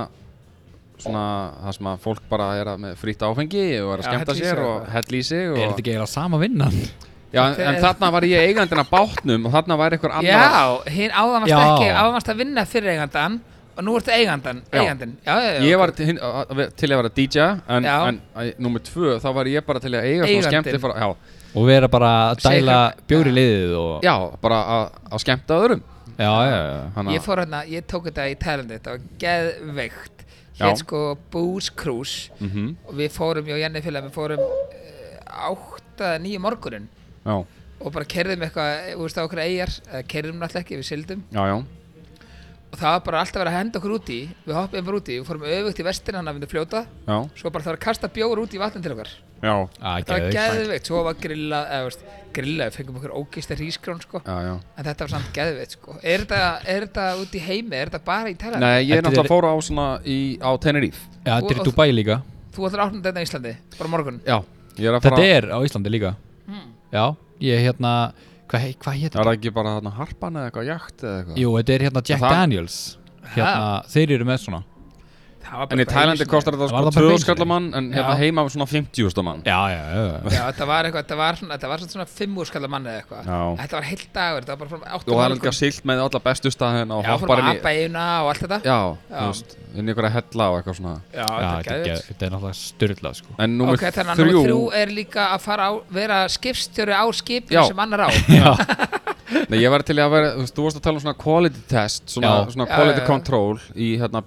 D: Svona það sem að fólk bara er að með frýtt áfengi og er að
B: Já,
D: skemmta
B: hella í sig
D: sér
B: og
D: og hella í sig
C: Er
D: og...
C: þetta ekki eiginlega sama vinnan?
D: *laughs* Já, en, en þarna var ég eigandinn að bátnum og þarna var einhver annar
B: Já, hinn áðan varst
C: Já.
B: ekki, áðan varst að vinna fyrir eigandan og nú ertu eigandan,
D: Já.
B: eigandin Já, já, já,
D: Ég
B: ok.
D: var til, að- að- til að vera DJ en,
B: Já.
D: en að- númer tvö þá var ég bara til að eiga svona
B: Eigandinn.
D: skemmti já,
C: Og vera bara að
B: Segja
C: dæla
B: eitthvað-
C: bjóri liðið og
D: já, bara að, að skemmta öðrum
C: já, já, já.
D: Hanna,
B: Ég fór hérna, ég tók þetta í Tælandi, þetta var geðveikt
D: Já. Mhm.
B: Hér sko Booze Cruise og við fórum, ég og Jenni félag, við fórum uh, átta, nýju morgunin
D: já,
B: og bara kerðum eitthvað, eh, þú veist, á okkur eigjar eða kerðum náttúrulega ekki, við sildum
D: já, já,
B: og það var bara alltaf verið að henda okkur úti við hoppum bara úti, við fórum öfugt í vestina hann að vinna fljóta,
D: já,
B: svo bara það var að kasta bjór út í vatnin til okkar
D: já,
C: Að,
B: það var geðveikt, svo var grilla eða veist, grilla, við fengum okkur ógeista hrískrón sko.
D: já, já.
B: en þetta var samt geðveikt sko. er þetta, er þetta út í heimi, er þetta bara í Tælandi?
D: Nei, ég
C: Þetta er-
D: er náttúrulega fór á svona í, á Tenerife
C: Já, þetta er
B: Og-
C: í Dubai líka
B: þú ætlar að opna þetta í Íslandi, bara á morgun
D: Já, ég er að fara
C: Þetta er á Íslandi líka
B: Hmm.
C: Já, ég hérna Hvað hva, hva
D: Það
C: hétt?
D: er ekki bara þarna harpan eða eitthvað, jakt eða eitthvað
C: Jú, þetta er hérna Jack
D: Það-
C: Daniels Hérna, þeir eru með svona
B: það var bara
D: En í
B: eitthvað
D: Tælandi
B: einu sinni.
D: kostar þetta
C: Var
D: sko
C: það bara einu
D: 2
C: sinni?
D: skallamann En hérna
C: Já.
D: heima svona 50 skallamann
C: já, já, já, já.
B: Já, þetta var eitthvað, þetta var svona, þetta var svona fimm úrskalla manni eða eitthvað
D: Já.
B: Þetta var heill dagur, þetta var bara frá 8
D: Og það er líka silt með alla bestu staðin Og
B: sko. Já, fórum
D: hopparinn
B: að
D: í
B: apa eina og allt þetta
D: Já,
B: Já.
D: þú veist, inn í einhverja hella og eitthvað svona
B: Já,
C: já
B: þetta er
C: þetta er
B: gæðið
C: geð- þetta er náttúrulega styrlað sko.
D: En númer
B: Ok, þannig að
D: þrjú,
B: nummer þrjú er líka að fara á, vera skipstjóri á skipin
D: Já.
B: sem annar á
D: *laughs*
C: já,
D: Nei, ég var til í að vera, þú veist, þú varst að tala um svona quality test Svona,
C: Já.
D: svona
B: Já,
D: quality
B: já, já.
D: control í hérna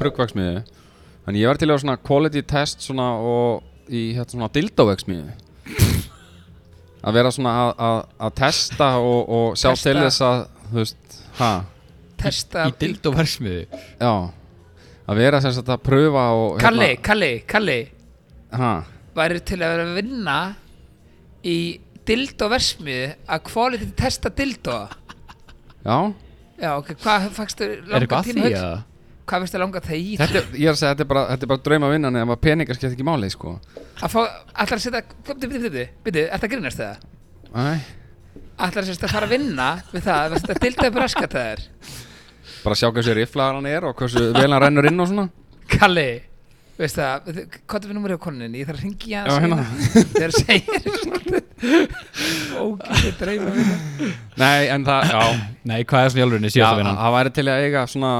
D: bruggvaksmiði En ég var til í að vera svona quality test svona og í hérna svona dildovaksmiði Að vera svona að- að að testa og, og sjá
B: Testa.
D: til þess að, þú veist, ha,
B: Testa
C: *laughs* í dildoversmiði
D: já Að vera sem sagt að pröfa og hérna,
B: Kalli, Kalli, Kalli
D: Ha,
B: væri til að vera að vinna í dildoversmiði að quality testa dildo
D: já
B: Já, ok, hvað fækstu
C: er
B: langa
C: eitthvað að
B: tíma
C: því
B: hugsa?
C: að
B: Hvað fækstu langa það í?
D: Þetta, er- ég er að segja, þetta er bara, þetta er bara drauma vinnan eða peningar skemmt ekki máli, sko.
B: Að fá, ætlar að setja, byrju, byrju, byrju, byrju, ert að grínast það?
D: Æ,
B: Ætlar að setja að fara að vinna við það, að setja dildo upp raskat það er?
D: bara sjá hversu riflaðar hann er og hversu vel hann rennur inn og svona.
B: Kalli, veist það, hvað er við númur hjá koninni? Ég þarf að ringi
D: Já,
B: hann
D: hérna.
B: þegar það segir Ógæði dreima við það
D: Nei, en það, já,
C: nei, hvað er svona í alvörinni
D: já
C: síðasta vinnan
D: það væri til í að eiga svona,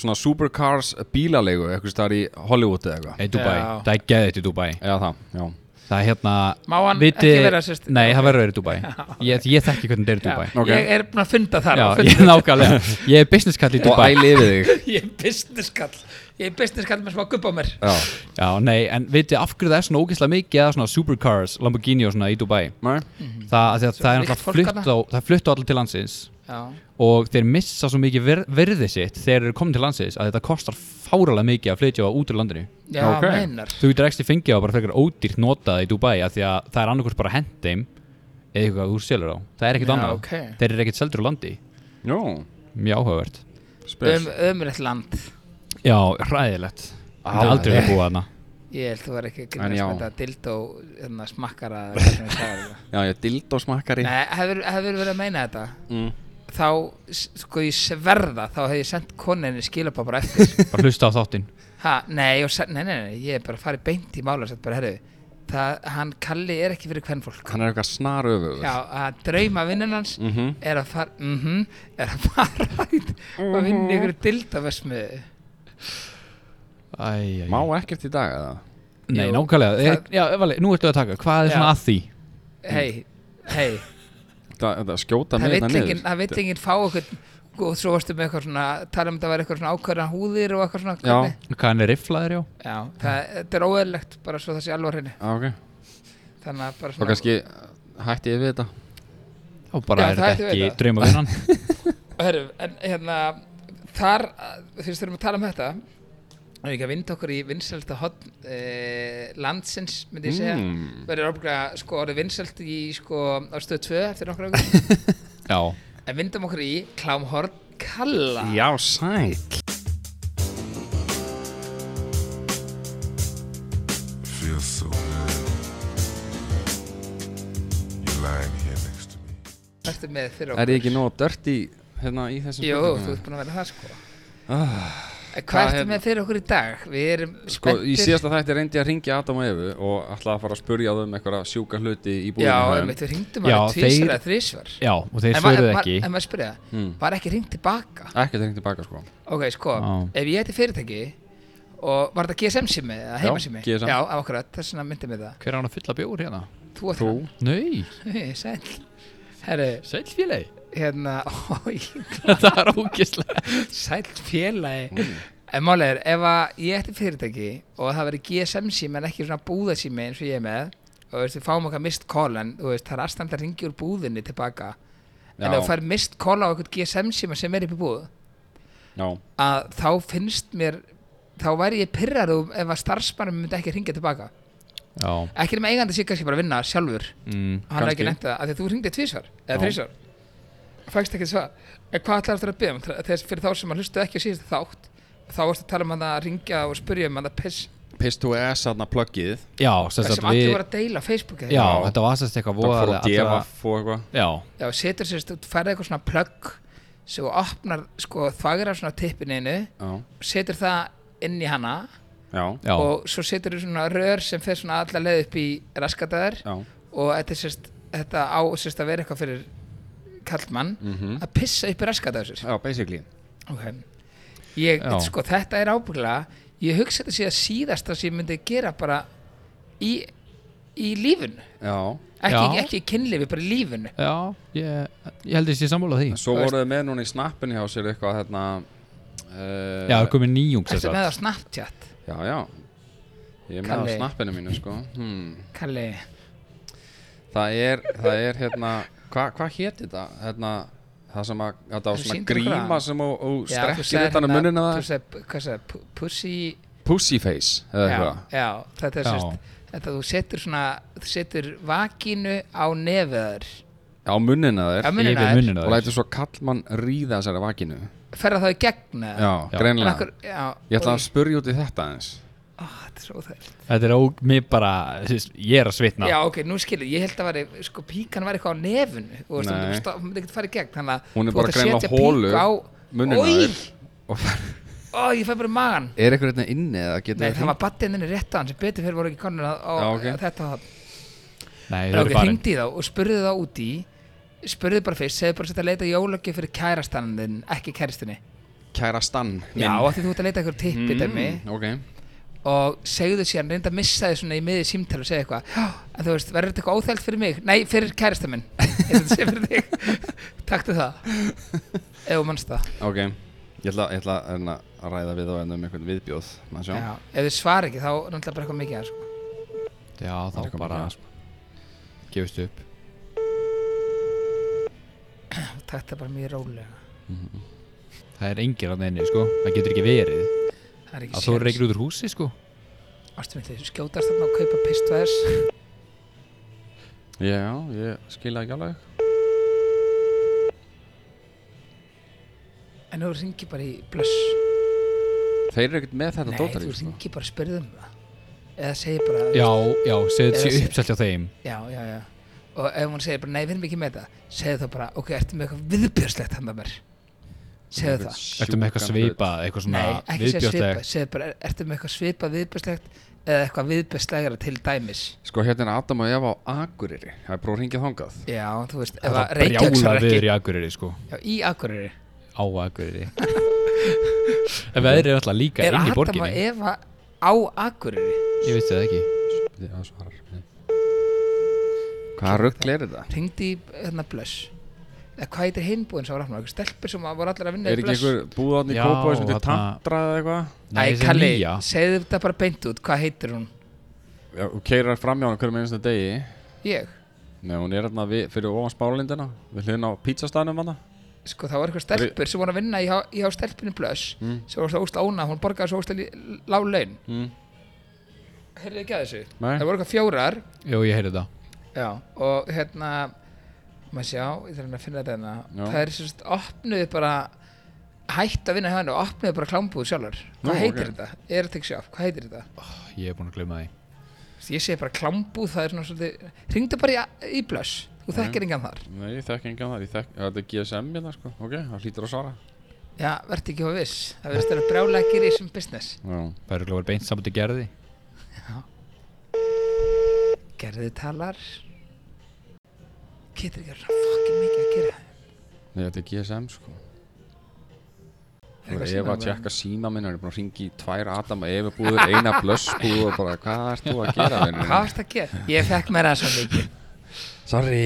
D: svona supercars bílalegu, eitthvað staðar í Hollywood eða eitthvað.
C: Nei, Dubai,
B: Já.
C: það er geðið til Dubai
D: Já, það, já.
C: Það er hérna
B: Má hann ekki vera sérst-
C: Nei,
B: ok.
C: það verður að vera í
B: *laughs*
C: Dubai Ég, ég þekki hvernig það er í Dubai
D: Ok.
B: Ég er búin að funda þar
C: *laughs* Já,
B: á fundi.
C: ég, nákvæmlega Ég er business kall í
D: Og
C: Dubai
D: æliði þig.
B: Ég er businesskall Ég er businesskall með smá gubb á mér
D: Já. *laughs*
C: Já, nei, en veitir af hverju það er svona ógeðslega mikið að svona supercars, Lamborghini og svona í Dubai
D: Nei,
C: Það, af því að það er
B: ríkt Mhm. fólk
C: alltaf flutt
B: þarna.
C: á Það er flutt á allir til landsins
B: Já,
C: og þeir missa svo mikið ver verðið sitt þegar þeir eru komin til landsins að þetta kostar fáralega mikið að flytja á út úr landinu
B: já
D: Ok.
B: meinar
C: Þú getur ekki fengið á bara frekar ódýrt notað í Dubai af því að það er annarkvort bara hent þeim eða eitthvað þú selur á Það er ekkert
B: Já,
C: annað
B: ok.
C: Þeir eru ekkert seldur úr landi
D: jú,
C: Mjög áhugavert
D: spes.
B: um, Ömurlegt land
C: Já, hræðilegt Það
D: Já,
C: er aldrei verið búið hana
B: Ég held þú var ekki að
D: En
B: grínast
D: já.
B: með þetta dildó hérna, smakkara eða hvað sem ég sagði það.
D: Já, ég dildo smakkari.
B: Nei, hefur, hefur verið að meina þetta
D: Mm.
B: þá, s- sko ég sverða þá hef ég sendt koninni skilabá bara eftir
D: *laughs*
C: Bara hlusta á þáttinn
B: Ha, nei, og, sa- nei, nei, nei, ég er bara farið beint í mála sett bara, herru, það, hann Kalli er ekki fyrir hvern fólk.
D: Hann er eitthvað snaröfugur.
B: Já, að drauma vinnun hans
D: Mhm.
B: er að fara, mhm, er að fara *laughs* í og vinna ykkur dildaversmiði.
D: Mm.
C: Æ, æ, æ.
D: Má ekkert í dag, eða?
C: Nei,
B: Jú,
C: nákvæmlega
B: það-
C: það... Já, vali, nú ertu að taka Hvað er svona
B: Já.
C: að því?
B: Hei, hei,
D: Það, það skjóta
B: það
D: mig
B: vill
D: hérna
B: enginn,
D: niður.
B: það vill enginn fá okkur, og svo varstu með eitthvað svona, tala um þetta var eitthvað svona ákvæðan húðir og eitthvað svona,
D: Já.
B: hvernig?
C: Hvað hann er rifflaður, já?
B: Já, það, þetta er óeðlegt bara svo þessi alvar henni,
D: Já, Ah, ok.
B: þannig að bara
D: Þá
B: svona.
D: kannski hætti ég við þetta.
C: Og bara
B: Já,
C: er
B: það
C: þetta
B: ættum við
C: ekki
B: þetta.
C: drauma
B: *laughs*
C: vinnan
B: Herru, en hérna þar, fyrst þurfum að tala um þetta og ekki að vinda okkur í vinsælta hotn e, landsins myndi ég segja,
D: Mm.
B: verður orðbúinlega sko orðið vinsælt í sko á stöð 2 eftir nokkra
D: *laughs*
B: okkur,
C: Já
B: en vindum okkur í klámhorn kalla
D: Já, sæl.
E: feels so good. You're lying here next to me.
B: Ertu með fyrir
D: Er
B: okkur?
D: ég ekki nóg dört í, hérna, í þessum
B: Jó,
D: spurningum?
B: þú ert búin að vera það sko
D: Ah,
B: En
D: Hvað
B: Hvað ertu
D: hérna?
B: með fyrir okkur í dag? Við erum
D: Sko,
B: spenntir
D: í síðasta þætti reyndi ég að ringja Adam og Evu og ætlaði að fara að spurja þau um eitthvað sjúka hluti í búinu
B: Já,
D: hjá þeim.
B: einmitt, við ringdum
C: Já,
B: alveg
C: þeir-
B: tvísar eða þrísvar
C: Já, og þeir
B: En ma-
C: svöruðu
B: en ma-
C: ekki
B: En maður spyrja, var ekki ringt tilbaka?
D: Hmm. Ekkert ringt tilbaka, sko.
B: Ok, sko,
C: Já.
B: ef ég heiti fyrirtæki og var þetta GSM sími eða heima sími?
D: GSM.
B: Já, akkurat, þess vegna myndi mig það.
C: Hver er hann að fylla bjór hérna?
B: Þú og
D: Þú,
B: það. *laughs*
C: Nei,
B: Sæll. Herru,
C: sæll
B: *laughs*
C: félagi
B: hérna, ói,
C: Þetta er ógeðslega
B: sæll félagi.
D: Mm.
B: En málega er, ef að ég heiti fyrirtæki og það veri GSM sími en ekki svona búðasími eins og ég er með og veist, við fáum okkar mist call en þú veist, það er aðstæmt að ringi úr búðinni tilbaka en
D: Já.
B: ef þú fær mist call á eitthvað GSM síma sem er upp í búð
D: já,
B: að þá finnst mér þá væri ég pyrrar ef að starfsmannum myndi ekki ringja tilbaka
C: Já,
B: ekki nema eigandi sér kannski bara að vinna sjálfur
C: mm,
B: og hann er ekki
D: Kannski.
B: nefnt það, af því að þú ringdi tvísvar eða
D: Já.
B: þrísvar, fækst ekki svar en hvað ætlar þetta að byggja um, þess fyrir þá sem að hlustu ekki á síðast þátt þá varstu að tala um hann að ringja og spurja um hann að piss
D: piss to ass aðna pluggið.
C: já
B: það
C: sem sagt
B: sem allir
C: við
B: voru að deila á Facebooki
C: Já,
D: Já.
C: þetta var sérst eitthvað
D: Það fór
C: voðalega
D: að gefa og eitthvað.
C: Já,
B: Já, setur sérst, þú færði eitthvað svona plögg sem þú opnar, sko, þvagra svona tippin einu
D: Já,
B: setur það inn í hana
D: já,
C: já,
B: og svo setur þú svona rör sem fer svona allar leið upp í raskataðar
D: já,
B: og þetta, er sérst, þetta á sérst að vera eitthvað fyrir kallmann
D: Mhm.
B: að pissa upp í raskataðar sér
D: já, basically
B: okay. ég,
C: Já.
B: sko, þetta er ábúrlega ég hugsa þetta sé að síðasta sem ég myndi gera bara í, í lífun
D: Já,
B: ekki,
C: Já.
B: ekki í kynlífi, bara í lífun
C: já ég, ég heldur þessi sammála því
D: en svo
B: Þú veist-
D: voruð þið með núna í snappinu hjá sér eitthvað hérna uh,
C: Já, komið nýjung
B: Ertu með á Snapchat,
D: Já, já Ég er með
B: Kalli.
D: á snappinu mínu sko hmm.
B: Kalli
D: Það er, það er hérna Hvað hva héti þetta? Hérna, það sem að, þetta var
B: Þú
D: svona
B: sýndir okkur
D: gríma
B: það.
D: sem og, og
B: Já, þú
D: strekkir
B: sagðir
D: utan um
B: hérna-
D: munnina
B: Þú
D: það
B: sagði, hvað sagði, pu- pussy
D: Pussyface eða
B: já,
D: eitthvað
B: já, þetta er
C: Já.
B: sérst Þetta þú setur svona, þú setur vakínu á nefðar
D: Á
B: Á
D: munnina þér
B: munnina þér,
D: og lætur svo kallmann ríða þessari vakinu
B: ferða þá í gegna
D: Já,
C: Já.
D: greinlega
B: já,
D: Ég
B: og-
D: ætla að spurja út í þetta eins
B: Ó, Þetta er svo þær
C: Þetta er óg, mér bara, þú veist, ég er að svitna
B: Já, ok, nú skilur, ég held að væri, sko, píkan var eitthvað á nefnu Þú veist, hún
D: Nei.
B: myndi ekki stoppa- hún myndi ekkert fara í gegn Þannig að
D: Hún er
B: þú
D: bara
B: átt að
D: greinilega
B: setja
D: holu
B: píku á
D: munnina
B: Oj,
D: þér. Og
B: ó, ég fæ bara í magan
D: er eitthvað hérna inni eða getur
B: Nei,
D: við
B: það var battinninni rétt á hann sem betur fyrir voru ekki konur að, að,
D: Já, ok.
B: að þetta var
C: Nei,
B: Þegar
C: það
B: ok,
C: er farin
B: hringdi í þá og spurði þá út í spurði bara fyrst, segði bara að setja að leita jólöggi fyrir kærastann þinn, ekki kæristinni
D: Kæra stann minn.
B: Já, af því þú ert að leita eitthvað tippi mm. dæmi
D: Ok
B: og segðu síðan, reynda að missa þið svona í miðið símtælu og segja eitthvað, "Já, en þú veist, verður þetta eitthvað óþælt fyrir mig? Nei, fyrir kærasta minn *laughs* Ég ætla að segja fyrir þig, *laughs* taktu það ef þú mannst það
D: Ok, ég ætla, ég ætla hérna, að ræða við og ennum einhvern viðbjóð maður sjá.
B: Já, ef þið svara ekki, þá er náttúrulega bara eitthvað mikið að sko.
C: Já, þá
D: Það er
C: bara
D: komið,
C: gefist upp
B: taktu það bara mjög rólega
C: Það er engir að neyni, sko Það getur ekki verið
B: Það er ekki
C: að þú
B: séns.
C: reykir út úr húsi, sko
B: Ástu mitt, þau skjótast þarna og kaupa pistvæðis
D: Já, ég skila ekki alveg
B: en þú ringir bara í blöss
D: Þeir eru ekkert með þetta
B: Nei,
D: dótari sko.
B: þú ringir bara að spyrja um það eða segir bara
C: sko. Já, já, segðu
B: Eða
C: þessi
B: sé-
C: uppsælt hjá þeim
B: já, já, já. og ef hún segir bara nei, við erum ekki með það segir þá bara, ok, ertu með eitthvað viðbjörslegt handa mér segir það
C: Ertu með eitthvað svipað, eitthvað svona
B: nei, ekki segir svipað,
C: viðbjóðslegt
B: segir bara, er- ertu með eitthvað svipað viðbjörslegt eða eitthvað viðbjörslegra til dæmis
D: Sko, hérna er Adam og Eva á Akureyri Það er bróð ringið þangað
B: já, þú veist, ef
C: Það
B: að
C: er
B: Reykjavík
C: brjála
B: svarar
C: viður
B: ekki
C: í Akureyri, sko
B: já, í Akureyri
C: Á Akureyri *laughs* En veðrið er alltaf líka
B: er
C: inn í
B: Adam og
C: borginni
B: Eva á Akureyri
C: Ég vissi það ekki
D: Já, svarar Hvaða rugl er þetta?
B: ringdi í hérna blöss eða hvað heitir hinbúinn sem var aftur stelpur sem var allir að vinna
D: Er
B: í
D: ekki
B: blöss
D: einhver búðarn í
C: Já,
D: kópa sem til
C: þarna-
D: tantra eða eitthvað?
C: Nei,
B: Æ,
C: þessi
B: Kalli,
C: nýja
B: segðu þetta bara beint út, hvað heitir hún?
D: Já, og keirar fram hjá hann hverjum einasta degi
B: Ég?
D: Nei, hún er hérna við, fyrir ofan spáralindina Við hliðin á pítsastanum hann
B: Sko, það var eitthvað stelpur sem voru að vinna í há, í há stelpunni blöss
C: Mm.
B: sem var svo ósla ónað, hún borgaði svo ósla lág laun
D: Mm.
B: Heyrðu ekki að þessu?
D: Nei.
B: Það voru eitthvað fjórar
C: Jú, ég heyrði það
B: Já og hérna maður sjá, ég þarf að finna þetta hérna
D: Já.
B: það er sérst, opnuðu bara hætt að vinna hjá henni og opnuðu bara klámbúð sjálfur
D: Nú,
B: Hvað heitir
D: ok.
B: þetta? Er þetta ekki sjálf? Hvað heitir þetta?
C: Ég er búin að glemma því
B: Ég segi bara klámbúð, það er svona svolítið Ringdu bara í, í blöss, þú
D: Já.
B: þekkir engan þar
D: Nei, ég þekki engan það, ég þekki, þetta er GSM hérna sko Ok, það hlýtur að svara
B: Já, verði ekki hvað viss Það verðist að brjála að gera í þessum business
D: Já,
C: Það eru glóður beint saman til gerði
B: Gerði talar Getur ekki að vera fokkin mikið að gera
D: Nei, þetta er GSM sko
B: Eitthvað
D: Ég
B: síma
D: var að
B: bara.
D: tjekka síma minn og er búin að ringi í tvær Adam og Eva búður, eina blöss búður og bara hvað ert þú að gera vinnur?
B: Hvað varst að gera? Ég fekk mér það svo mikið
D: Sorry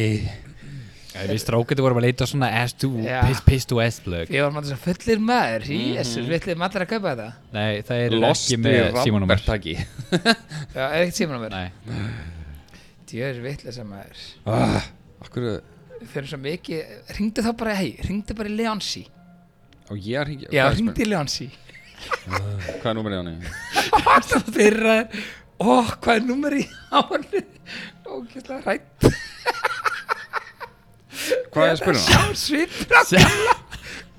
C: Já, Við strákandi vorum að leita svona S2,
B: Já.
C: piss, piss to S-blögg
B: Ég var maður þess að fullir maður Jésus,
D: Mhm.
B: við ætlum allir að kaupa þetta
C: Nei, það er
D: Lost
C: ekki
D: í
C: með símanúmer
D: Rambertaki
B: Já, er ekkert símanum verið
C: Nei,
B: Djöður vitleisa maður
D: Ah, Akkur
B: Við fyrir svo mikið Ringdu þá bara, hei, ringdu bara í Leonsi
D: Og ég að ringi
B: Já,
D: hvað er
B: ringdu í Leonsi
D: spurning- Hvað er númerið hann í?
B: Varst að fyrra þér Ó, hvað er nummer í áni Ókjæslega rætt
D: Hvað er spurning hann?
B: Sjá svipra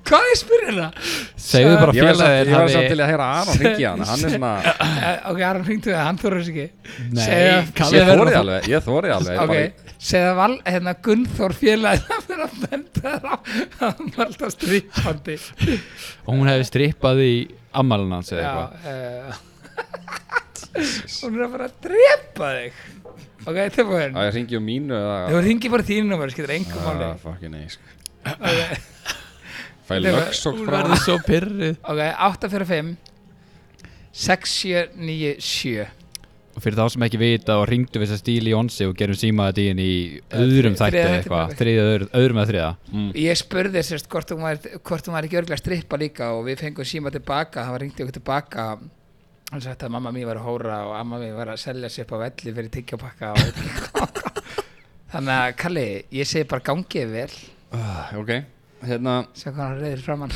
B: Hvað er spyrir það?
C: segðu bara
D: Ég var samt-
C: félagið
D: ég var samt til að heyra Aron ringi hann Hann er svona
B: Eh, Ok, Aron ringdu það, hann þóra þess ekki
C: Nei,
B: Segðu-
C: Kalli
D: Ég
C: verður
D: þórið
C: að-
D: alveg Ég þórið alveg ég
B: Ok,
D: bara-
B: segða val, hérna Gunnþór félagið að vera að benda þér á að hann var alltaf strípandi
C: Og hún hefði strippað í ammælun hans eða eitthvað
B: Já, uh, hún er að fara að drepa þig ok, tilbúin
D: Að ég ringi um mínu eða
B: þú ringir bara þínu númer, skilur engum máli
D: Ah, fucking nei sko. Fæ lögsók
B: Hún
D: frá
F: verður svo pyrrið
B: ok, 845 6797
C: og fyrir þá sem ekki vita og ringdu við þess að stíli í onsi og gerum símaða dýin í öðrum
B: þri-
C: þætti
B: þriðja þætti
C: eða
B: bara
C: eitthvað,
B: ekki.
C: þriðja, öðru- öðrum eða þriða
B: ég spurði sérst hvort hún var, hvort hún var ekki örglega strippa líka og við fengum síma tilbaka, það var ringti okkur tilbaka hann sagt að mamma mín var að hóra og amma mín var að selja sér upp á velli fyrir tyggjópakka og
C: *laughs*
B: þannig að Kalli, ég segi bara gangið vel
D: Ah, Ok, hérna
B: sjá hvað hann reyðir framann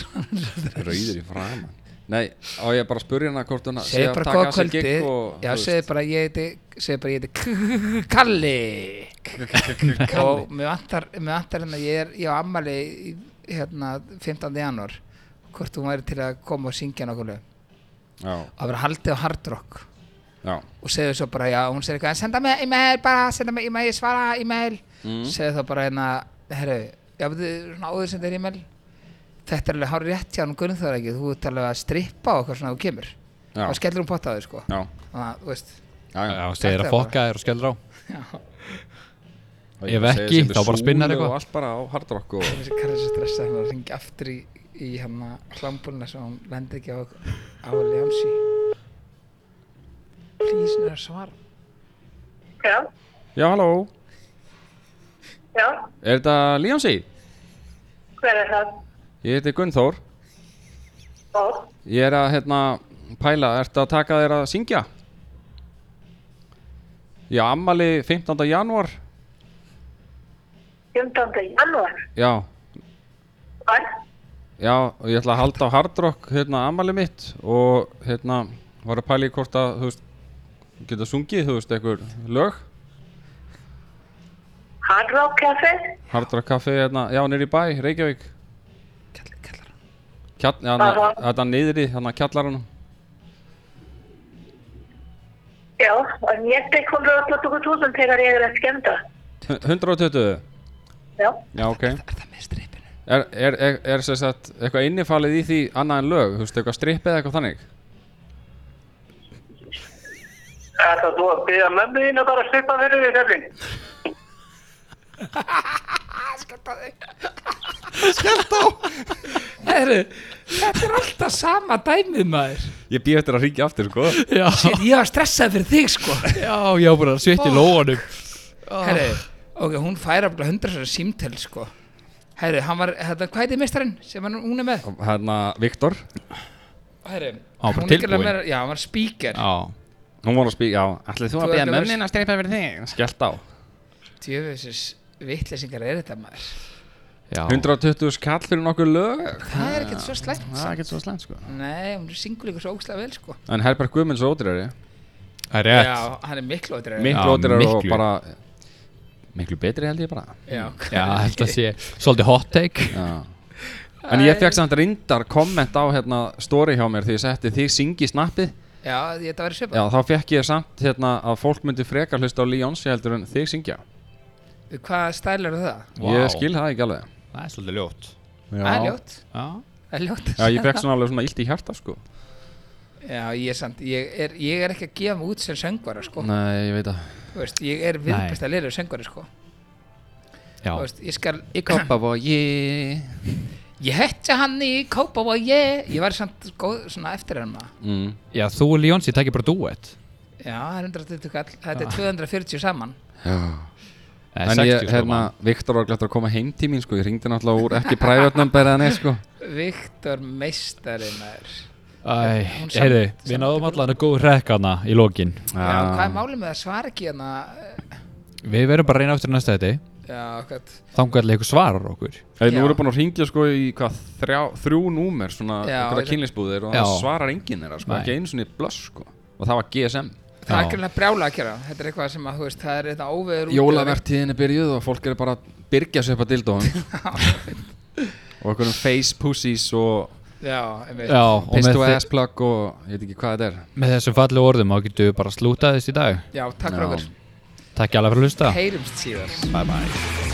D: Rauður í framan Nei, á ég bara að spurja hana hvort hún sé
B: segi
D: að
B: bara
D: taka
B: góða
D: að sér
B: kvöldi
D: gig og
B: já,
D: þú
B: segi
D: veist.
B: bara ég heiti segi bara ég heiti *laughs* K- Kalli og mér vantar mér vantar hérna, ég er ég á ammali í- hérna 15. janúar hvort hún væri til að koma og syngja nokkuð lög
D: Já,
B: að vera haldið á hardrock
D: já
B: og segðu svo bara, já, hún segir eitthvað senda mig e-mail bara, senda mig e-mail, svara e-mail
D: Mm.
B: segðu þá bara hérna herru, já, veitu, svona áður sem þér e-mail þetta er alveg hár rétt hjá hann Gunnþóra ekki, þú ert alveg að strippa og eitthvað svona þú kemur,
D: Já.
B: þá skellur hún pott á þig sko
D: Já,
B: þannig að, þú veist
D: já, já.
C: og segir
B: Þetta
C: að
B: er bara-
C: fokka þér og skellur á
B: já,
D: Og
C: Ef
D: ég segi
C: ekki,
D: sem
C: þá bara
D: Súlu
C: spinnar eitthvað.
D: Og allt bara á hardrock og
B: þessi karri sem stressa hann að ringja aftur í, í hérna hann hlambúlina svo hann lendir ekki á, á Leonsi please, hann er að svara
G: Já,
D: Já, halló
G: já,
D: Er þetta Líonsi?
G: hver er það?
D: Ég heiti Gunnþór
G: Og,
D: Ég er að, hérna, pæla, ertu að taka þér að syngja? Já, ammali 15. janúar
G: 15. janúar,
D: Já,
G: hvað?
D: já, og ég ætla að halda á hardrock, hérna, ammali mitt Og, hérna, var að pæla í hvort að, þú veist, geta sungið, þú veist, einhver lög
G: Hard Rock Café?
D: Hardrock Café, hérna, já, nýri bæ, Reykjavík
B: kallar, kallar hann
D: Kjall, hérna, þetta niðri, hérna, kjallarunum
G: Já, og ég tek 180.000 þegar ég er að skemmta.
D: 120
G: Já,
D: Já, ok
B: er það með stripinu?
D: Er, er, er, er sem sagt eitthvað innifalið í því annað en lög, þú veist, eitthvað strippið eða eitthvað þannig?
H: Ætlar þú að byggja mömmu þín að bara slipa fyrir því fjallin?
B: Heru, þetta er alltaf sama dæmið maður
D: Ég býð eftir að ríkja aftur, sko
F: Já,
B: Shit, ég var stressað fyrir þig sko
F: já, já, bara sveitt í lóanum
B: Herri, ok, hún fær aflega hundra sér símtel sko Herri, hann var, hérna, hvað heiti mistarinn sem hann, hún er með?
D: Hérna, Viktor
B: Herri,
C: Hann var bara
B: hún er ekki alveg
C: tilbúinn.
B: með- Já, hann var speaker
C: já,
D: Hún voru að spýja, já, ætlið þú
B: Þú
D: að
B: ætlar að
D: býða mömmu
B: vera-
D: þín að strippið fyrir því? Skellt á
B: Djöfisins vittlesingar er þetta maður
C: já.
D: 120 skall fyrir nokkuð lög
B: Það er ekkert svo slæmt
D: Ah, Það er ekkert svo slæmt, sko
B: Nei, hún er single ykkur svo ógslag vel sko
D: En Herbert Guðmunds er ódýrari
C: það er rétt
B: Já, hann er miklu ótrir
C: Já,
D: Eh, Miklu ódýrari og
C: miklu.
D: bara Miklu betri held ég bara
B: Já, *laughs*
C: já, þetta sé svolítið hot take
D: Já En ég fekk samt reyndar komment á hérna story hjá mér því ég setti þig syngi snappið
B: já þetta var svipað
D: Já, þá fekk ég samt hérna að fólk myndi frekar hlusta á Leonsi heldur en þig syngja
B: Hvað stælar er það?
D: Ég skil það ekki alveg
C: það er svolítið ljótt
B: Það er ljótt
C: já,
B: Það er ljótt
D: Já, ég fekk svona alveg svona illt í hjarta sko
B: *laughs* Já, ég er samt, ég er, ég er ekki að gefa mig út sem söngvara, sko.
D: Nei, ég veit að
B: Þú veist, ég er viðbæst að lera söngvara, sko.
C: já.
B: Þú veist, ég skal, ég,
D: Kópavogi
B: ég hetja hann í kópa og ég, ég var samt góð, svona eftir hann maður.
D: mm.
C: já þú og Ljónsi takir bara duet
B: Já, það er 120 kall,
D: Ah.
B: þetta er 240 saman.
C: Nei,
D: En ég,
C: 60 sko,
D: hérna,
C: mann.
D: Viktor var glætt að koma heim til mín sko Ég ringdi náttúrulega úr ekki private number
B: *laughs*
D: eða neitt sko
B: Viktor meistari maður.
C: Æ,
B: Hún samt-
C: heyrðu, við
B: samt-
C: náðum allan að góð rekkana í lokin
B: Já, hvað er málið með það svara ekki hérna?
C: Við verðum bara að reyna aftur í næsta þetta
B: Já, hvað,
C: Þangarlega ykkur svarar okkur
D: Þeir
B: Já.
D: nú eru búin að ringja sko í hvað þrjá, þrjú númer svona
B: Já,
D: einhverja
B: ég-
D: kynlisbúðir og
C: Já.
D: það svarar enginn þeirra sko,
C: Nei.
D: ekki einu svona blöss sko og það var GSM
B: það er
C: Já.
B: ekki hérna brjála að gera. Þetta er eitthvað sem að, þú veist, það er þetta óveður út.
D: Jólavertíðin er byrjuð og fólk eru bara að byrgja sér upp að
B: *laughs*
D: dildóðum og einhverjum face pussies og
B: Já, einmitt.
C: Já, og með,
D: pistu
C: þi-
D: ass plug og ég veit ekki hvað þetta er
C: með þessum fallu orðum þá getum við bara að slúta þess í dag
B: Já, takk fyrir
D: Já.
B: okkur.
C: Takk alveg fyrir að hlusta
B: Heyrumst síðan.
C: Bye bye